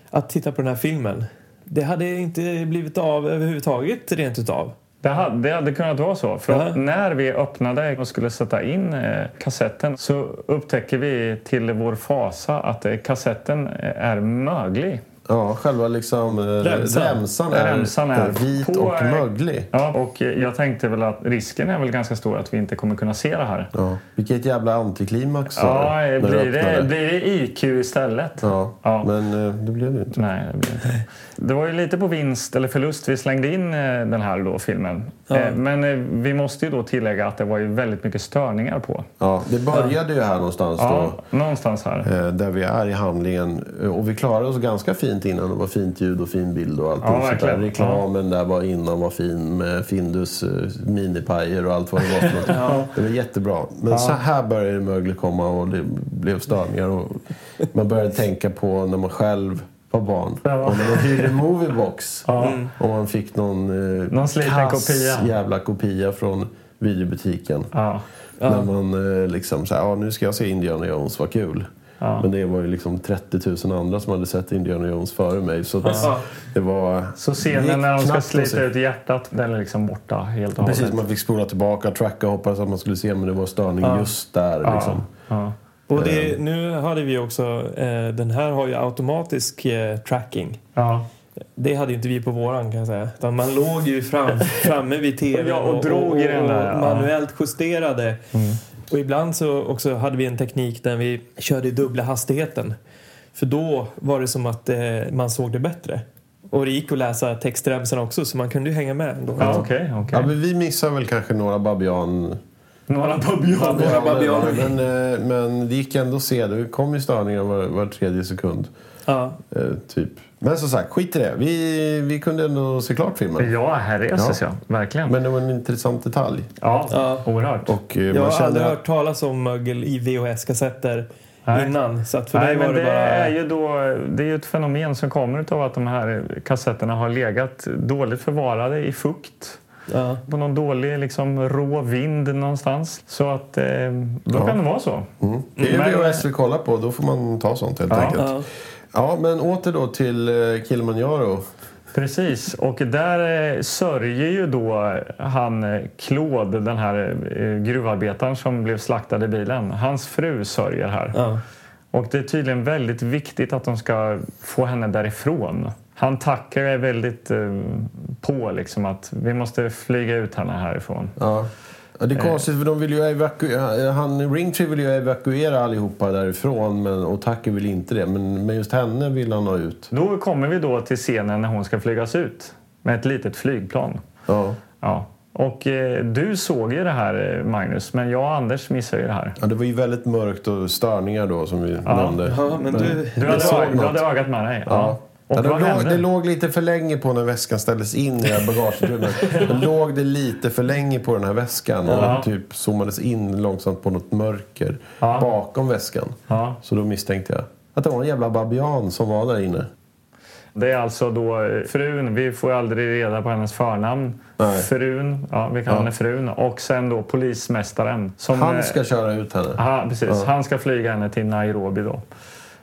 att titta på den här filmen, det hade inte blivit av överhuvudtaget rent utav. Det, hade, det hade kunnat vara så. För att Ja. när vi öppnade och skulle sätta in eh, kassetten så upptäcker vi till vår fasa att eh, kassetten eh, är möglig. Ja, själva liksom eh, Remsan. remsan är, Remsan är vit på- och möglig. Ja, och eh, jag tänkte väl att risken är väl ganska stor att vi inte kommer kunna se det här. Ja. Vilket jävla antiklimax Ja, var eh, när du blir det, öppnade. blir det IQ istället? Ja. Ja. Men eh, det blev det ju inte. Nej, det blir inte. det. Det var ju lite på vinst eller förlust vi slängde in eh, den här då, filmen. Eh, Men eh, vi måste ju då tillägga att det var ju väldigt mycket störningar på. Ja, det började ju här någonstans Ja, då. någonstans här. eh, Där vi är i handlingen. Eh, Och vi klarade oss ganska fint innan. Det var fint ljud och fin bild och allt. Ja, sånt där. verkligen. Reklamen där var innan var fin med Findus eh, minipajer och allt vad det var för något. Det var jättebra. Men så här började det mögel komma och det blev störningar. Och man började tänka på när man själv var barn. Ja. Och när man hyrde Moviebox. Ja. Och man fick någon, eh, Någon sliten kass kopia. jävla kopia från videobutiken. Ja. När man eh, liksom så här, ja nu ska jag se Indiana Jones, vad kul. Men det var ju liksom 30 000 andra som hade sett Indiana Jones före mig. Så att Ja. det var... Så det gick scenen när de ska knappt att se. slita ut hjärtat, den är liksom borta helt och Precis, hållet. man fick spola tillbaka, tracka och hoppas att man skulle se men det var störning just där. Liksom. Ja. Och det, nu hade vi också, eh, den här har ju automatisk eh, tracking. Ja. Det hade inte vi på våran kan jag säga. Utan man låg ju fram, framme vid tvn Ja, och drog i den där, ja. Mm. manuellt justerade. Och ibland så också hade vi en teknik där vi körde i dubbla hastigheten. För då var det som att eh, man såg det bättre. Och det gick att läsa textremsorna också så man kunde ju hänga med ändå. Ja, okej, okej. Ja, men vi missar väl kanske några babian... Några babianer. Några babianer. Men, eh, men det gick ändå att se. Det kom ju störningar var, var tredje sekund. Ja. Eh, typ. Men som sagt, skit i det. Vi, vi kunde ändå se klart filmen. Ja, här reses Ja. jag. Verkligen. Men det var en intressant detalj. ja, Ja. oerhört. Och, eh, Jag man har kände aldrig att- hört talas om mögel i VHS-kassetter Nej. innan. Så att för Nej, mig var men det, det, bara... är ju då, det är ju ett fenomen som kommer av att de här kassetterna har legat dåligt förvarade i fukt. ja. På någon dålig liksom, rå vind någonstans. Så att eh, då Ja. kan det vara så. Det är Men- VHS vi kollar på, då får man ta sånt helt Mm. Ja. enkelt. Ja. Ja. men åter då till eh, Kilimanjaro. Precis, och där eh, sörjer ju då han eh, Claude, den här eh, gruvarbetaren som blev slaktad i bilen. Hans fru sörjer här. Ja. Och det är tydligen väldigt viktigt att de ska få henne därifrån. Han Tucker är väldigt eh, på liksom att vi måste flyga ut henne härifrån. Ja. Ja, Eh. Det är konstigt för de vill ju evakuera, han, Ringtree vill ju evakuera allihopa därifrån men, och Tucker vill inte det. Men, men just henne vill han ha ut. Då kommer vi då till scenen när hon ska flygas ut med ett litet flygplan. Ja. Ja. Och eh, du såg ju det här eh, Magnus, men jag och Anders missade ju det här. ja, det var ju väldigt mörkt och störningar då som vi nämnde. ja, men du... Du hade, såg ög- du något. hade ögat med dig. Ja. Och Ja, det, vad låg, hände? det låg lite för länge på när väskan ställdes in i det här bagageutrymmet. det låg det lite för länge på den här väskan och Ja. typ zoomades in långsamt på något mörker Ja. bakom väskan. Ja. Så då misstänkte jag att det var en jävla babian som var där inne. Det är alltså då eh, frun, vi får ju aldrig reda på hennes förnamn. Nej. Frun, ja, vi kallar henne frun. Och sen då polismästaren. Som, Han eh, ska köra ut henne. aha, precis, han ska flyga henne till Nairobi då.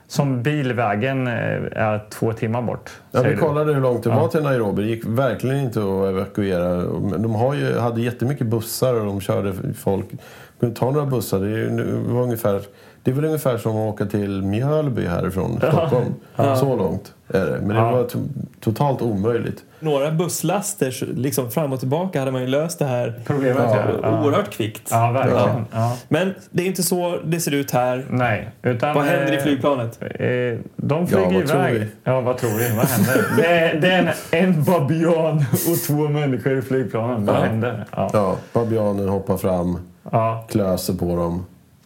Som bilvägen eh, är två timmar bort. Ja, säger du. vi kollade hur långt det var till Nairobi. Det gick verkligen inte att evakuera. Men De har ju, hade jättemycket bussar och de körde folk. De kunde ta några bussar. Det, är ju- det var ungefär, det är väl ungefär som att åka till Mjölby härifrån Stockholm. Så långt är det. Men det var to- totalt omöjligt. Några busslaster så liksom fram och tillbaka hade man ju löst det här Problemet, ja, ja. Ja. oerhört kvickt. Ja, verkligen. Ja. Men det är inte så det ser ut här. Nej, utan... Vad händer i eh, flygplanet? Eh, de flyger Ja, vad tror iväg. vi? Ja, vad tror vi? Vad händer? det, är, det är en, en babian och två människor i flygplanen. Vad händer? Ja. Ja, babianen hoppar fram. Ja. klöser på dem.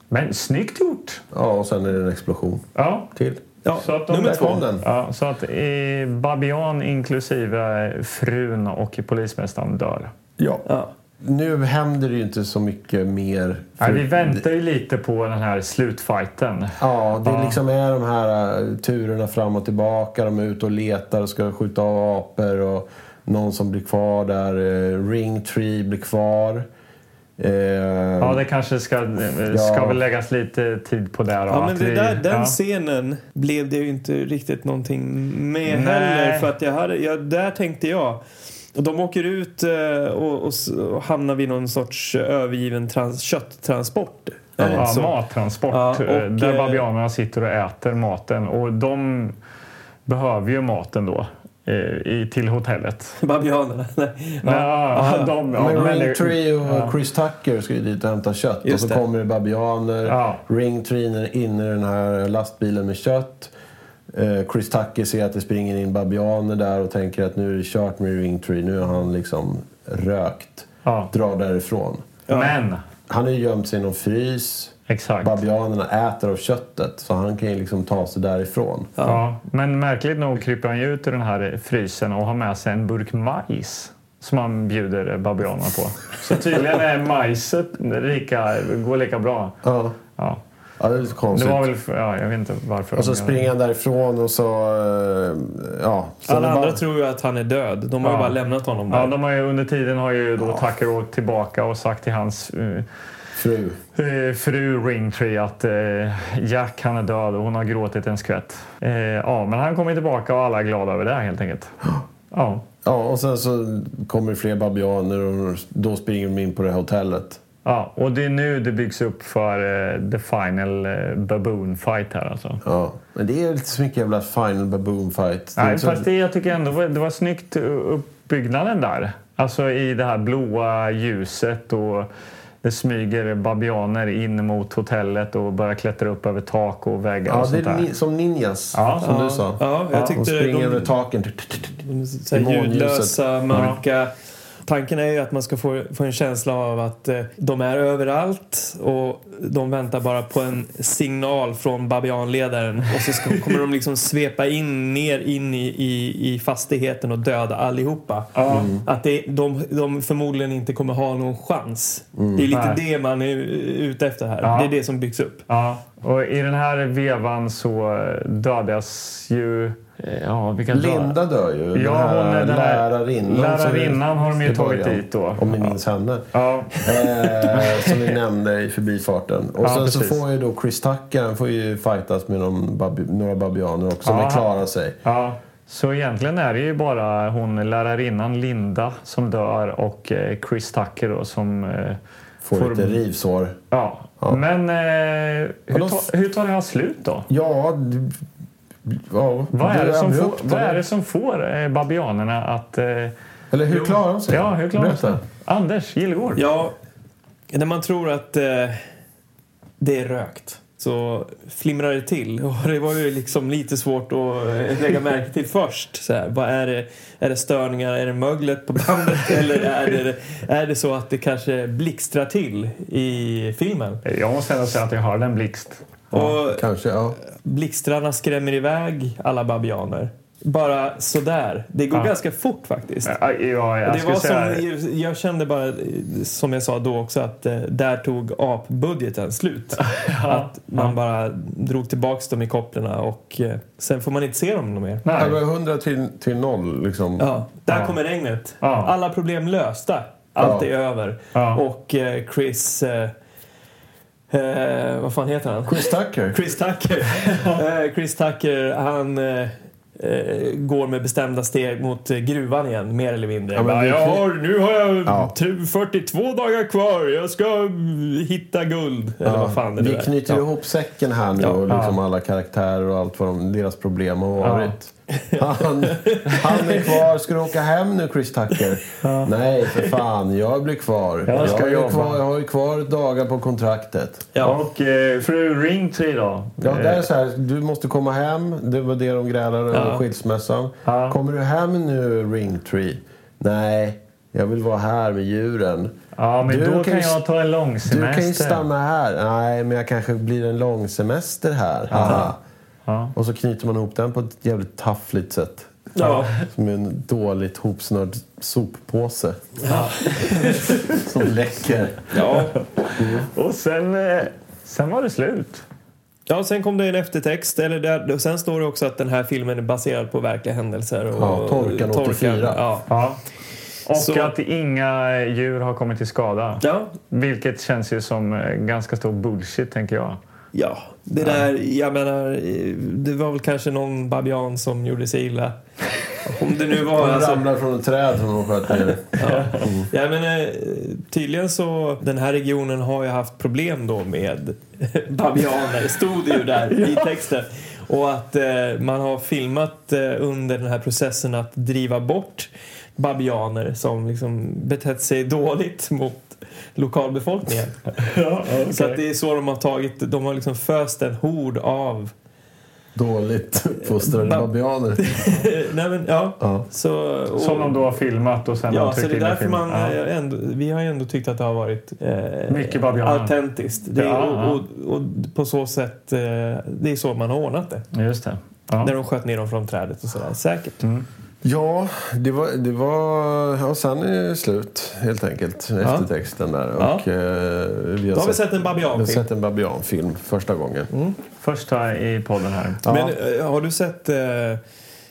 Men snyggt gjort! Ja, och sen är det en explosion Ja. till. Ja, Så att de- Där nummer två. kom den. Ja, så att eh, Babian inklusive eh, frun och polismästaren dör. Ja. Ja. Nu händer det ju inte så mycket mer. Nej, vi För- väntar ju lite på den här slutfighten. Ja, det liksom är de här eh, turerna fram och tillbaka. De är ute och letar och ska skjuta av apor. Och någon som blir kvar där. eh, Ringtree blir kvar. Eh, Ja, det kanske ska, eh, ska Ja. väl läggas lite tid på det. då, Ja, men att det vi- där, den ja. scenen blev det ju inte riktigt någonting med Nej. heller. För att jag hade, jag, där tänkte jag. De åker ut eh, och, och, s- och hamnar vid någon sorts övergiven trans, kötttransport. Är det Ja, inte så? mattransport. Ja, och, eh, där eh, babianerna sitter och äter maten. Och de behöver ju maten då eh, i, till hotellet. Babianerna. Nej. Ja, de, ja, men men det- Ringtree och Chris Tucker ska ju dit och hämta kött. Just och så det. kommer det babianer. Ja. Ringtree är inne i den här lastbilen med kött. Eh, Chris Tucker ser att det springer in babianer där och tänker att nu är det kört med Ringtree. Nu är han liksom rökt. Ja. Drar därifrån. Men, Han är ju gömt sig i någon frys. exakt. Babianerna äter av köttet så han kan ju liksom ta sig därifrån. Ja, men märkligt nog kryper han ju ut ur den här frysen och har med sig en burk majs som han bjuder babianerna på. Så tydligen är majset lika, går lika bra. Ja. Ja. Ja, det är lite Det konstigt. var väl, ja, jag vet inte varför. Och så de gör det. springer han därifrån och så... eh, Ja. Sen Alla är andra bara- tror ju att han är död. De har Ja. ju bara lämnat honom där. Ja, de har ju, under tiden har ju då Tucker åkt tillbaka och sagt till hans eh, Fru. eh, fru Ringtree att eh, Jack han är död och hon har gråtit en skvätt. Eh, ja, men han kommer tillbaka och alla är glada över det helt enkelt. Ja, Ja, och sen så kommer det fler babianer och då springer de in på det här hotellet. ja och det är nu det byggs upp för eh, the final eh, baboon fight här alltså. Ja. Men det är lite så mycket jävla final baboon fight. Det är Nej, inte så- fast det, jag tycker ändå var- det var snyggt eh, uppbyggnaden där. Alltså i det här blåa ljuset och det smyger babianer in mot hotellet och börjar klättra upp över tak och väggar Ja, och det sånt är där. ni, som ninjas, Ja. som Ja. du sa. Ja, jag de tyckte springer de- över taken. Så här Månljuset. ljudlösa, mörka. Tanken är ju att man ska få, få en känsla av att eh, de är överallt och de väntar bara på en signal från babianledaren och så ska, kommer de liksom svepa in ner in i, i, i fastigheten och döda allihopa. Att det, de, de förmodligen inte kommer ha någon chans. Det är lite Mm. Nej. det man är ute efter här. Ja. Det är det som byggs upp. Ja, och i den här vevan så eh, dödas ju... eh, Ja, vilka dör? Linda dör ju. den Ja, hon är här den här lärarinnan. lärarinnan har de ju i början, tagit dit då. Om ni minns henne. Ja, Eh, som vi nämnde i förbifarten. Och Ja, sen så precis. får ju då Chris Tucker, han får ju fightas med någon babi, några babianer också. Ja, men han- klarar sig. ja. Så egentligen är det ju bara hon lärarinnan Linda som dör och eh, Chris Tucker då som... eh, Får, Får- lite rivsår. Ja. Men eh, hur, då- ta, hur tar det här slut då? Ja, d- ja Vad är, det som får, abrupt, vad eller? är det som får eh, babianerna att... Eh, Eller hur klarar de sig? ja, hur klarar de sig? Berätta. Anders Gillgård. Ja, när man tror att eh, det är rökt så flimrar det till. Och det var ju liksom lite svårt att eh, lägga märke till först. Så här, vad är, det, är det störningar? Är det möglet på bandet? Eller är det, är det så att det kanske blixtrar till i filmen? Jag måste ändå säga att jag hörde en blixt. Och Kanske, ja. blixtrarna skrämmer iväg alla babianer. Bara sådär. Det går Ja. ganska fort faktiskt. Ja, ja, jag Det skulle var säga... som, jag- jag kände bara, eh, som jag sa då också, att eh, där tog apbudgeten slut. Att man bara drog tillbaks dem i kopplerna och eh, sen får man inte se dem mer. Det Nej. var 100 till, till noll liksom. Ja, där Ja. kommer regnet. Ja. Alla problem lösta. Allt Ja. är över. Ja. Och eh, Chris... Eh, eh, vad fan heter han? Chris Tucker. Chris Tucker. Eh, Chris Tucker, han eh, eh, går med bestämda steg mot eh, gruvan igen, mer eller mindre. Ja, men Bara, det- jag har, nu har jag Ja. tu- 42 dagar kvar, jag ska mm, hitta guld. Eller vad fan det nu Vi är. knyter ja. ihop säcken här nu Ja. och liksom alla karaktärer och allt vad de, deras problem har varit. Han, han är kvar. Ska du åka hem nu Chris Tucker? Nej, för fan. Jag blir kvar. Jag ska är jobba. kvar. Jag har ju kvar dagar på kontraktet. Ja. Och eh, fru Ringtree då? Ja, det är Eh, så här, du måste komma hem. Det var det de grälade över Ja. skilsmässan. Ja. Kommer du hem nu, Ringtree? Nej. Jag vill vara här med djuren. Ja, men Du då kan kan ju- jag ta en lång semester. Du kan ju stanna här. Nej, men jag kanske blir en lång semester här. Haha. Ja. Och så knyter man ihop den på ett jävligt taffligt sätt. Ja. Som en dåligt hopsnörd soppåse. Som läcker. Ja. Och sen, eh, sen var det slut. ja, sen kom det en eftertext. Eller där, och sen står det också att den här filmen är baserad på verkliga händelser. Och, Ja, Torkan 84. Ja. Ja. Och Så- att inga djur har kommit till skada. Ja, Vilket känns ju som eh, ganska stor bullshit, tänker jag. Ja, det där, jag menar, eh, det var väl kanske någon babian som gjorde sig illa. Om det nu var De alltså. ramlar från ett träd som de sköt ner. Ja, men, eh, tydligen så, den här regionen har ju haft problem då med babianer, stod det ju där i texten. Och att eh, man har filmat eh, under den här processen att driva bort babianer som liksom betett sig dåligt mot lokalbefolkningen. Så att det är så de har tagit, de har liksom föst en hord av Dåligt fostrade Ba- babianer. Nej, men, ja. Ja. Så, och, Som de då har filmat och sen har Ja, tryckt så det är in i därför filmen. man, Ja. eh, ändå, vi har ju ändå tyckt att det har varit eh, Mycket babianer. autentiskt. Det är, Ja, ja. och, och, och på så sätt, eh, det är så man har ordnat det. Just det. Ja. När de sköt ner dem från trädet och sådär. Säkert. Ja, det var... Det var ja, sen är det slut helt enkelt. Eftertexten där. Ja. Och, eh, vi har Då har vi sett en vi har babianfilm. sett en babianfilm första gången. Mm. Första i podden här. Men eh, har du sett eh,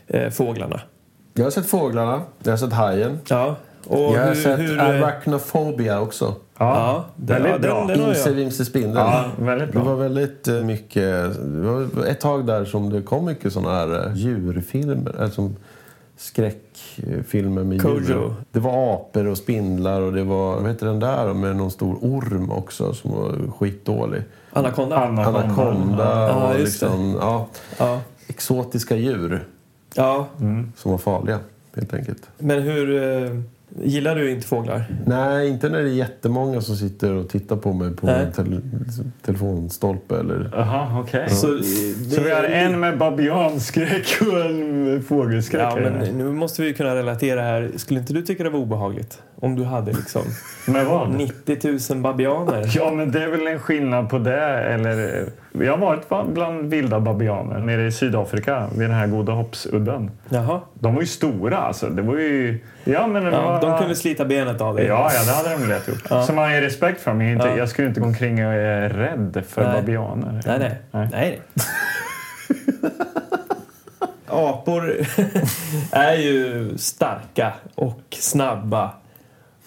eh, fåglarna? Jag har sett fåglarna, jag har sett hajen. Ja. Och jag har hur, sett hur, eh, arachnophobia också. Ja, Ja, det- väldigt ja, den- bra. den- har jag. Imse vimse spindel. Ja, väldigt Det var bra. väldigt eh, mycket... Det var ett tag där som det kom mycket såna här eh, djurfilmer. Eller som skräckfilmer med Kojo. djur. Det var apor och spindlar och det var... Vad heter den där med någon stor orm också som var skitdålig? Anaconda? Anaconda. Anakonda Ja, och just det. liksom... Ja, Ja. exotiska djur ja. som var farliga helt enkelt. Men hur... Eh, gillar du inte fåglar? Nej, inte när det är jättemånga som sitter och tittar på mig på Nej. en tele- telefonstolpe eller... Jaha, okej. Så, Så, eh, det vi har är- en med babianskräck och en med fågelskräck. Ja, här men inne. nu måste vi ju kunna relatera här. Skulle inte du tycka det var obehagligt? Om du hade liksom Med vad? 90 000 babianer. Ja, men det är väl en skillnad på det. Eller, jag har varit ba- bland vilda babianer nere i Sydafrika vid den här Goda hoppsudden. Jaha. De var ju stora alltså. Det var ju... Ja, men det Ja, var... de kunde slita benet av dig. Ja, ja, det hade de lätt gjort. Så man har ju respekt för dem. Jag, är inte, Ja. jag skulle inte gå omkring och är rädd för Nej. babianer. Nej, nej. nej. nej. Apor är ju starka och snabba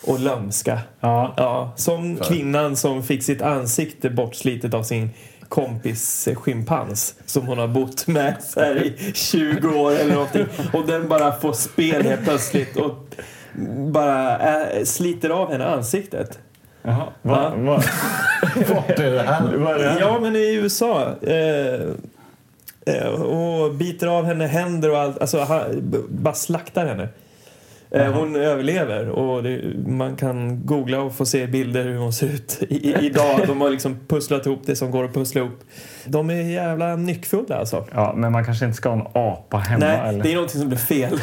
och lömska. Ja. Ja, som kvinnan som fick sitt ansikte bortslitet av sin kompis eh, schimpans som hon har bott med så här i 20 år eller någonting. Och den bara får spel helt plötsligt och bara eh, sliter av henne ansiktet. Jaha. Va, Ja. va, Vart är det här? vad är det här? Ja, men i USA. Eh, eh, och biter av henne händer och allt. Alltså, han, b- bara slaktar henne. Eh, hon överlever och det, man kan googla och få se bilder hur hon ser ut i, i, idag. De har liksom pusslat ihop det som går att pussla ihop. De är jävla nyckfulla alltså. Ja, men man kanske inte ska ha en apa hemma. Nej, eller? det är någonting som blir fel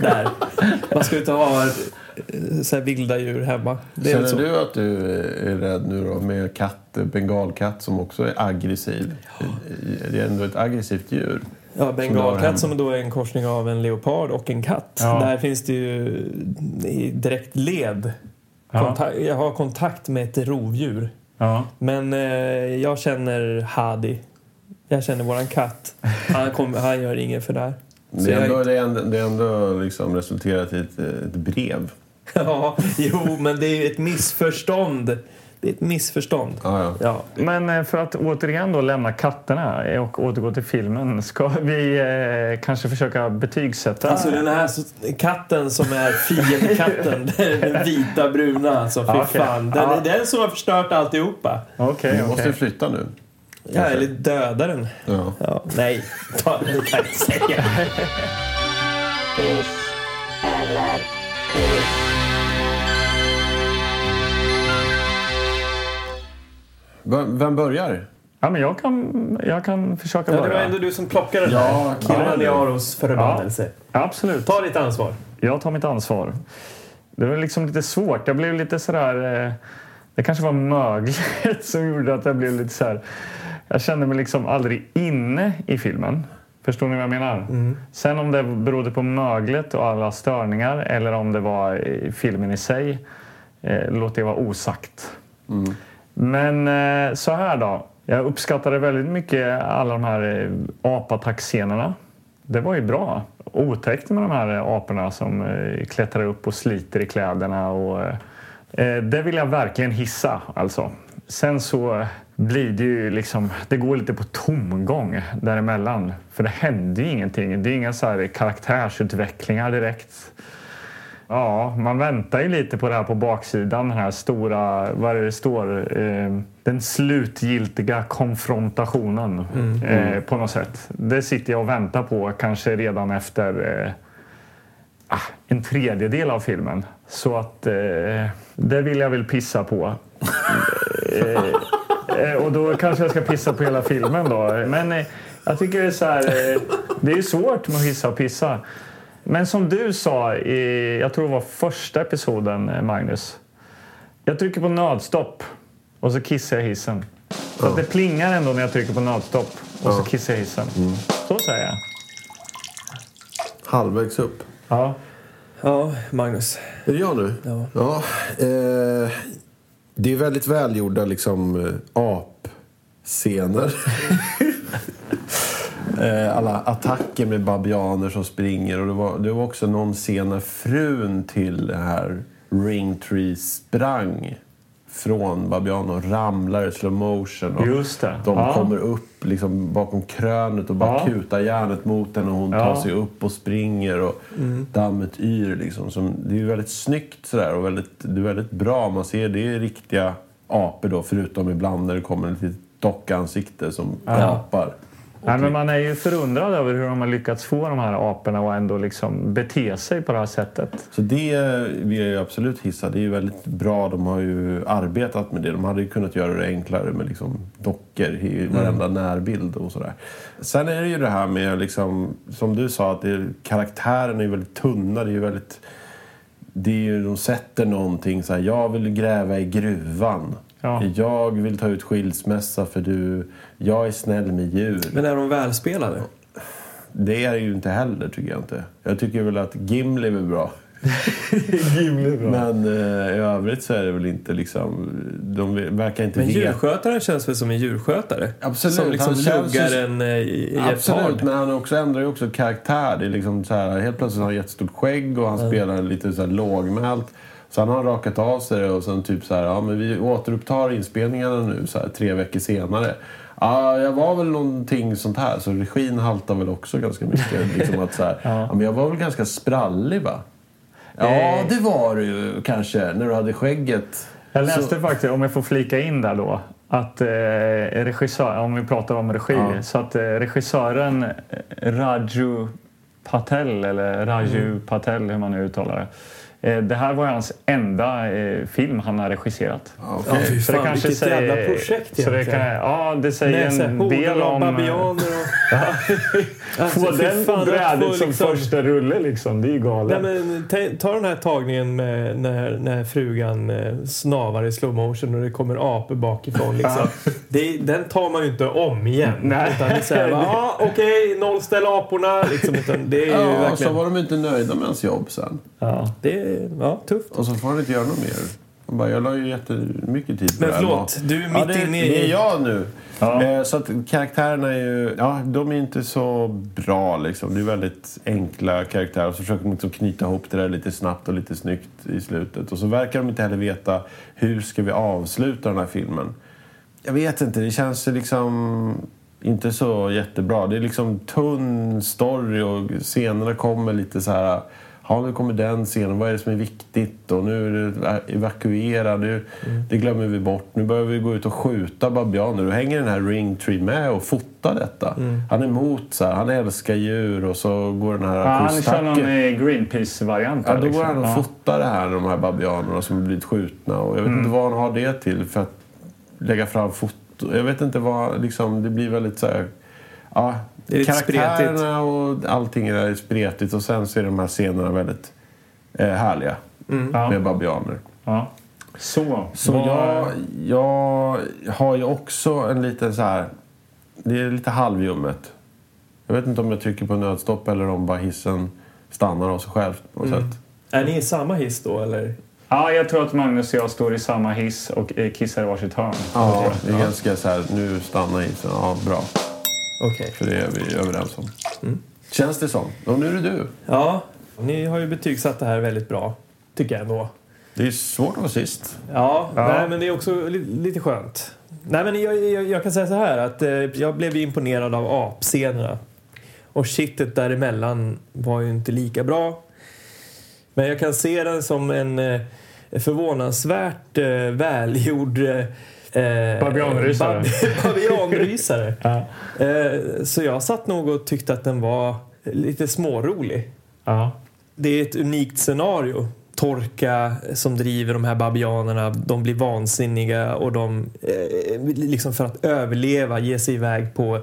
där. Man ska ju inte ha eh, så här vilda djur hemma. Det är väl Känner så. du att du är rädd nu då med katt, bengalkatt som också är aggressiv? Det är ändå ett aggressivt djur. Ja, hemma. bengalkatt som då är en korsning av en leopard och en katt. Ja. Där finns det ju i direkt led. Ja. Kontak- jag har kontakt med ett rovdjur. Ja. Men eh, jag känner Hadi. Jag känner våran katt. Han, kommer- han gör inget för det här. Så Det är jag- ändå, det är ändå, det är ändå liksom resulterat i ett, ett brev. Ja, jo, men det är ju ett missförstånd. Det är ett missförstånd. Ja, ja. Ja. Men eh, för att återigen då lämna katterna eh, och återgå till filmen. Ska vi eh, kanske försöka betygsätta? Alltså den här så- katten som är fiendekatten, den vita bruna alltså, fy Ja, okej. fan. Den, Ja. Det är den som har förstört alltihopa. Okej, Vi okej. måste ju flytta nu. Ja, eller döda den. Ja. Ja, nej, ta, det kan jag inte säga. Vem vem börjar? Ja, men jag kan, jag kan försöka Ja, det var börja. ändå du som plockade den Ja, här. killen. Killen i Aros förbannelse. Absolut. Ta ditt ansvar. Jag tar mitt ansvar. Det var liksom lite svårt. Jag blev lite sådär... eh, Det kanske var möglet som gjorde att jag blev lite så här. Jag kände mig liksom aldrig inne i filmen. Förstår ni vad jag menar? Sen om det berodde på möglet och alla störningar eller om det var eh, filmen i sig eh, låter jag vara osagt. Men eh, så här då. Jag uppskattade väldigt mycket alla de här eh, apattackscenerna. Det var ju bra. Otäckt med de här eh, aporna som eh, klättrar upp och sliter i kläderna. Och, eh, eh, det vill jag verkligen hissa. Alltså. Sen så eh, blir det ju liksom, det går lite på tomgång däremellan. För det händer ju ingenting. Det är inga så här karaktärsutvecklingar direkt. Ja, man väntar ju lite på det här på baksidan. Den här stora, vad är det det står? Eh, den slutgiltiga konfrontationen eh, på något sätt. Det sitter jag och väntar på kanske redan efter eh, ah, en tredjedel av filmen. Så att eh, det vill jag väl pissa på. Eh, Och då kanske jag ska pissa på hela filmen då. Men eh, jag tycker det är så här, eh, det är ju svårt med att hissa och pissa. Men som du sa i, jag tror det var första episoden eh, Magnus. Jag trycker på nödstopp och så kissar jag i hissen. Så att det plingar ändå när jag trycker på nödstopp och så kissar jag i hissen. Så säger jag. Halvvägs upp. Ja. Ja, Magnus. Är det jag nu? Ja. eh, det är väldigt välgjorda liksom, eh, apscener. eh, alla attacker med babianer som springer. Och det, var, det var också någon scen när frun till det här Ringtree sprang från babianen och ramlar i slow motion. Och Just det. De Ja. kommer upp liksom bakom krönet och bara Ja. kutar järnet mot henne och hon tar Ja. Mm. sig upp och springer och dammet yr. Liksom, som, det är ju väldigt snyggt sådär och väldigt, det är väldigt bra. Man ser det är riktiga apor då, förutom ibland när det kommer ett litet dockansikte som gapar. Nej, men man är ju förundrad över hur de har lyckats få de här aporna att ändå liksom bete sig på det här sättet. Så det vill jag ju absolut hissa. Det är ju väldigt bra. De har ju arbetat med det. De hade ju kunnat göra det enklare med liksom dockor i varenda närbild och sådär. Sen är det ju det här med, liksom, som du sa, att det, karaktären är ju väldigt tunna. Det är ju väldigt... Det är ju, de sätter någonting så här, jag vill gräva i gruvan. Ja. Jag vill ta ut skilsmässa för du... Jag är snäll med djur. Men är de välspelade? Det är det ju inte heller, tycker jag inte. Jag tycker väl att Gimli är väl bra. Men eh, i övrigt så är det väl inte liksom... De verkar inte Men veta. djurskötaren känns väl som en djurskötare? Absolut, Som liksom han känns ju- luggar en eh, i- i ett Absolut, tag. men han också ändrar ju också karaktär. Det är liksom så här, helt plötsligt har han jättestort skägg och han spelar lite så här lågmält. Sen har han rakat av sig det och sen typ så här, ja men vi återupptar inspelningarna nu så här, tre veckor senare. Ja, jag var väl någonting sånt här. Så regin haltar väl också ganska mycket. liksom att så här, ja. men jag var väl ganska sprallig va? Ja, Eh. det var du ju kanske när du hade skägget. Jag läste faktiskt, om jag får flika in där då, att eh, regissör, om vi pratar om regi, så att eh, regissören eh, Raju Patel, eller Raju Mm. Patel hur man nu uttalar det. Eh, det här var hans enda eh, film han har regisserat. Ja, okej. Ja, fy Så det fan, kanske vilket säger- jävla projekt så det egentligen. kan, Ja, det säger en Näshorn del och om... eh, babianer och... alltså, Få fy den fan, att brädet få som liksom- första rulle liksom, det är ju Nej, galet. men, ta- ta den här tagningen med när, när frugan eh, snavar i slow motion och det kommer apor bakifrån. Liksom. det, den tar man ju inte om igen. Nej. Utan det är så här, va, ja, okej, nollställ aporna. Liksom, utan det är ju Ja, och så verkligen... var de inte nöjda med hans jobb sen. Ja. Det är ja, tufft. Och så får han inte göra något mer. Han bara, jag la ju jättemycket tid på Men det här. förlåt, du är mitt ja, det, inne i... Det är jag nu. Ja. Eh, Så att karaktärerna är ju... Ja, de är inte så bra liksom. Det är väldigt enkla karaktärer. Och så försöker de liksom knyta ihop det där lite snabbt och lite snyggt i slutet. Och så verkar de inte heller veta hur ska vi avsluta den här filmen. Jag vet inte, det känns ju liksom inte så jättebra. Det är liksom tunn story och scenerna kommer lite så här... Ja, nu kommer den scenen. Vad är det som är viktigt? Och nu är det evakuera. Nu, Det glömmer vi bort. Nu börjar vi gå ut och skjuta babianer. Då hänger den här Ringtree med och fotar detta. Han är emot så här. Han älskar djur och så går den här Ja, han kör någon kusthacken- eh, Greenpeace-variant. Ja, här, då går liksom. han och Ja. fotar det här, de här babianerna som har blivit skjutna. Och jag vet inte vad han har det till för att lägga fram foto. Jag vet inte vad, liksom, det blir väldigt så här... Ja, Det är lite karaktärerna och allting där är spretigt och sen så är de här scenerna väldigt eh, härliga. med babianer. Ja. Så. Så vad- jag, jag har ju också en liten så här... Det är lite halvjummet. Jag vet inte om jag trycker på nödstopp eller om bara hissen stannar av sig själv på något sätt. Är ni i samma hiss då eller? Ja, jag tror att Magnus och jag står i samma hiss och eh, kissar i varsitt hörn. Ja, det är ganska så här, nu stannar hissen. Ja, bra. Okej. För det är vi överens om. Mm. Känns det som. Och nu är det du. Ja, ni har ju betygsatt det här väldigt bra. Tycker jag ändå. Det är svårt att vara sist. Ja, Nej, men det är också li- lite skönt. Nej, men jag, jag, jag kan säga så här att eh, jag blev ju imponerad av apscenerna. Och shitet däremellan var ju inte lika bra. Men jag kan se den som en eh, förvånansvärt eh, välgjord eh, eh, Babianrysare. bab- Babianrysare. eh, så jag satt nog och tyckte att den var lite smårolig. Ja. Det är ett unikt scenario. Torka som driver de här babianerna. De blir vansinniga och de, eh, liksom för att överleva, ger sig iväg på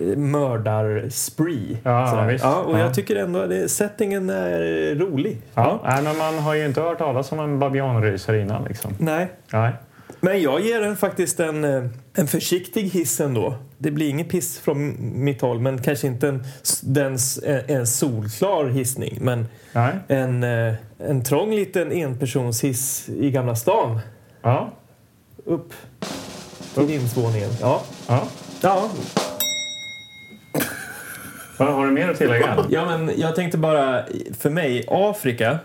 eh, mördarspree. Ja, Sådär. visst. ja, och Ja. jag tycker ändå att det- settingen är rolig. Ja. Nej, men man har ju inte hört talas om en babianrysare innan. Liksom. Nej. Nej. Men jag ger den faktiskt en, eh, en försiktig hiss ändå. Det blir ingen piss från mitt håll, men kanske inte en, s- den, s- en- en solklar hissning. Men Nej. en, eh, en trång liten enpersonshiss i Gamla stan. Ja. Upp till vindsvåningen. Ja. Ja. Ja. Vad har du mer att tillägga? ja, men jag tänkte bara för mig, Afrika.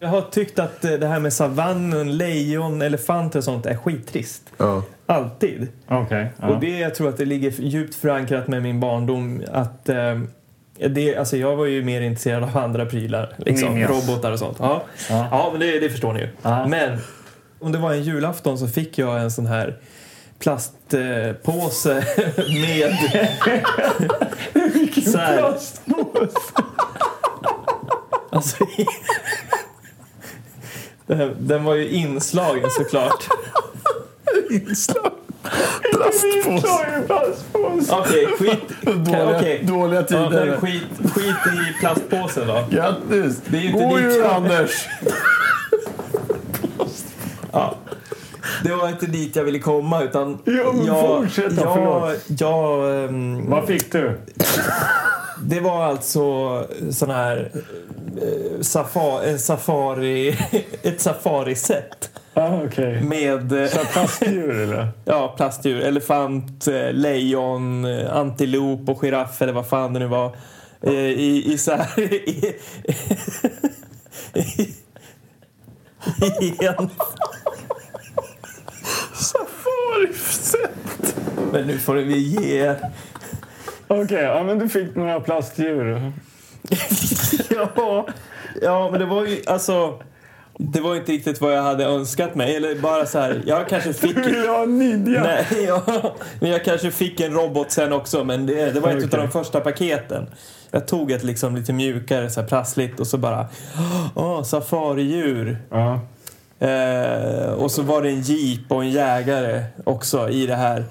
Jag har tyckt att eh, det här med savannen, lejon, elefanter och sånt är skittrist. Ja. Alltid. Okej. Och Ja. det jag tror att det ligger djupt förankrat med min barndom att eh, det, alltså jag var ju mer intresserad av andra prylar. Liksom, Ninjas. robotar och sånt. Ja, ja. men det, det förstår ni ju. Ja. Men om det var en julafton så fick jag en sån här plastpåse eh, påse med... Vilken plastpåse? alltså, den, den var ju inslagen såklart. Okej, skit... Dåliga, okej. dåliga Ja, tider. men skit, skit i plastpåsen då. Grattis! är ju inte God ditt jul, jobb. Anders! Det var inte dit jag ville komma utan... Ja, men fortsätt då, jag, förlåt. jag, ehm, Vad fick du? Det var alltså sån här... Eh, safa, en safari, ett safariset Ja, Okej. med eh, Så här Plastdjur eller? ja, plastdjur. Elefant, eh, lejon, eh, antilop och giraff eller vad fan det nu var. Eh, I, i så här... I, i, i en... Men nu får vi ge er. Okej, ja, men du fick några plastdjur. ja, ja, men det var ju alltså... Det var ju inte riktigt vad jag hade önskat mig. Eller bara så här, jag kanske fick... Ja, Nidja! Nej, ja, men jag kanske fick en robot sen också, men det, det var ett Okej. av de första paketen. Jag tog ett liksom lite mjukare, så här prassligt och så bara... Åh, safaridjur! Ja. Eh, och så var det en jeep och en jägare också i det här.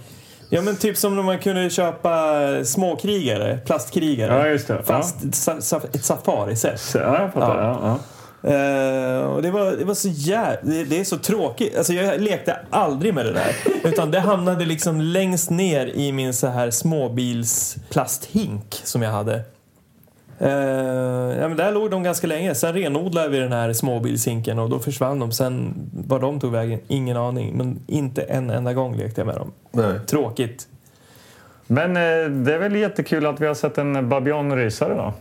Ja, men typ som när man kunde köpa småkrigare, plastkrigare. Ja, just det. Fast sa, sa, ett safariset. Så, ja, jag fattar. Ja. Ja, Eh, och det var, det var så jävla... Det, det är så tråkigt. Alltså jag lekte aldrig med det där. Utan det hamnade liksom längst ner i min så här småbilsplasthink som jag hade. Eh, ja, men där låg de ganska länge. Sen renodlade vi den här småbilshinken och då försvann de. Sen var de tog vägen, ingen aning. Men inte en enda gång lekte jag med dem. Nej. Tråkigt. Men eh, det är väl jättekul att vi har sett en babianrysare då.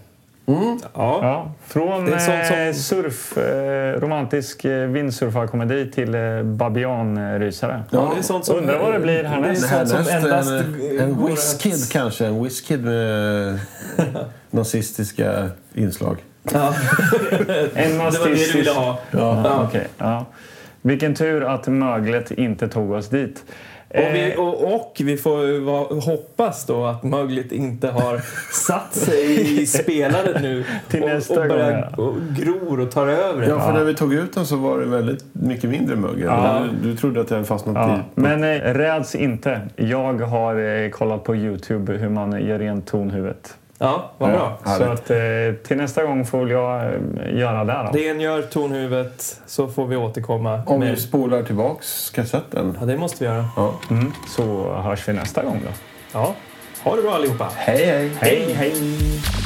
Mm. Ja. Ja, från Det är sånt som- eh, surf, eh, romantisk eh, vindsurfarkomedi till eh, babianrysare. Ja, det är sånt som, Undrar vad det blir härnäst. Det är sånt som endast en, en går whiskid kanske. En whiskid med nazistiska inslag. En att- Det var det du ville ha. Ja, okej, ja. Vilken tur att möglet inte tog oss dit. Och vi, Eh, och, och vi får ju va- hoppas då att möglet inte har satt sig i spelandet nu Till och, nästa och börjar gång, och gror och tar över. Ja, för när vi tog ut den så var det väldigt mycket mindre mögel. Du, du trodde att den fastnat Ja, i... men eh, räds inte. Jag har eh, kollat på Youtube hur man gör rent tonhuvudet. Ja, vad bra. Så att, eh, till nästa gång får väl jag eh, göra det. Då. Rengör tornhuvudet så får vi återkomma. Om med... vi spolar tillbaks kassetten. Ja, det måste vi göra. Ja. Så hörs vi nästa gång. Då. Ja. Ha det bra allihopa. 哎 Hej, hej! Hej, hej!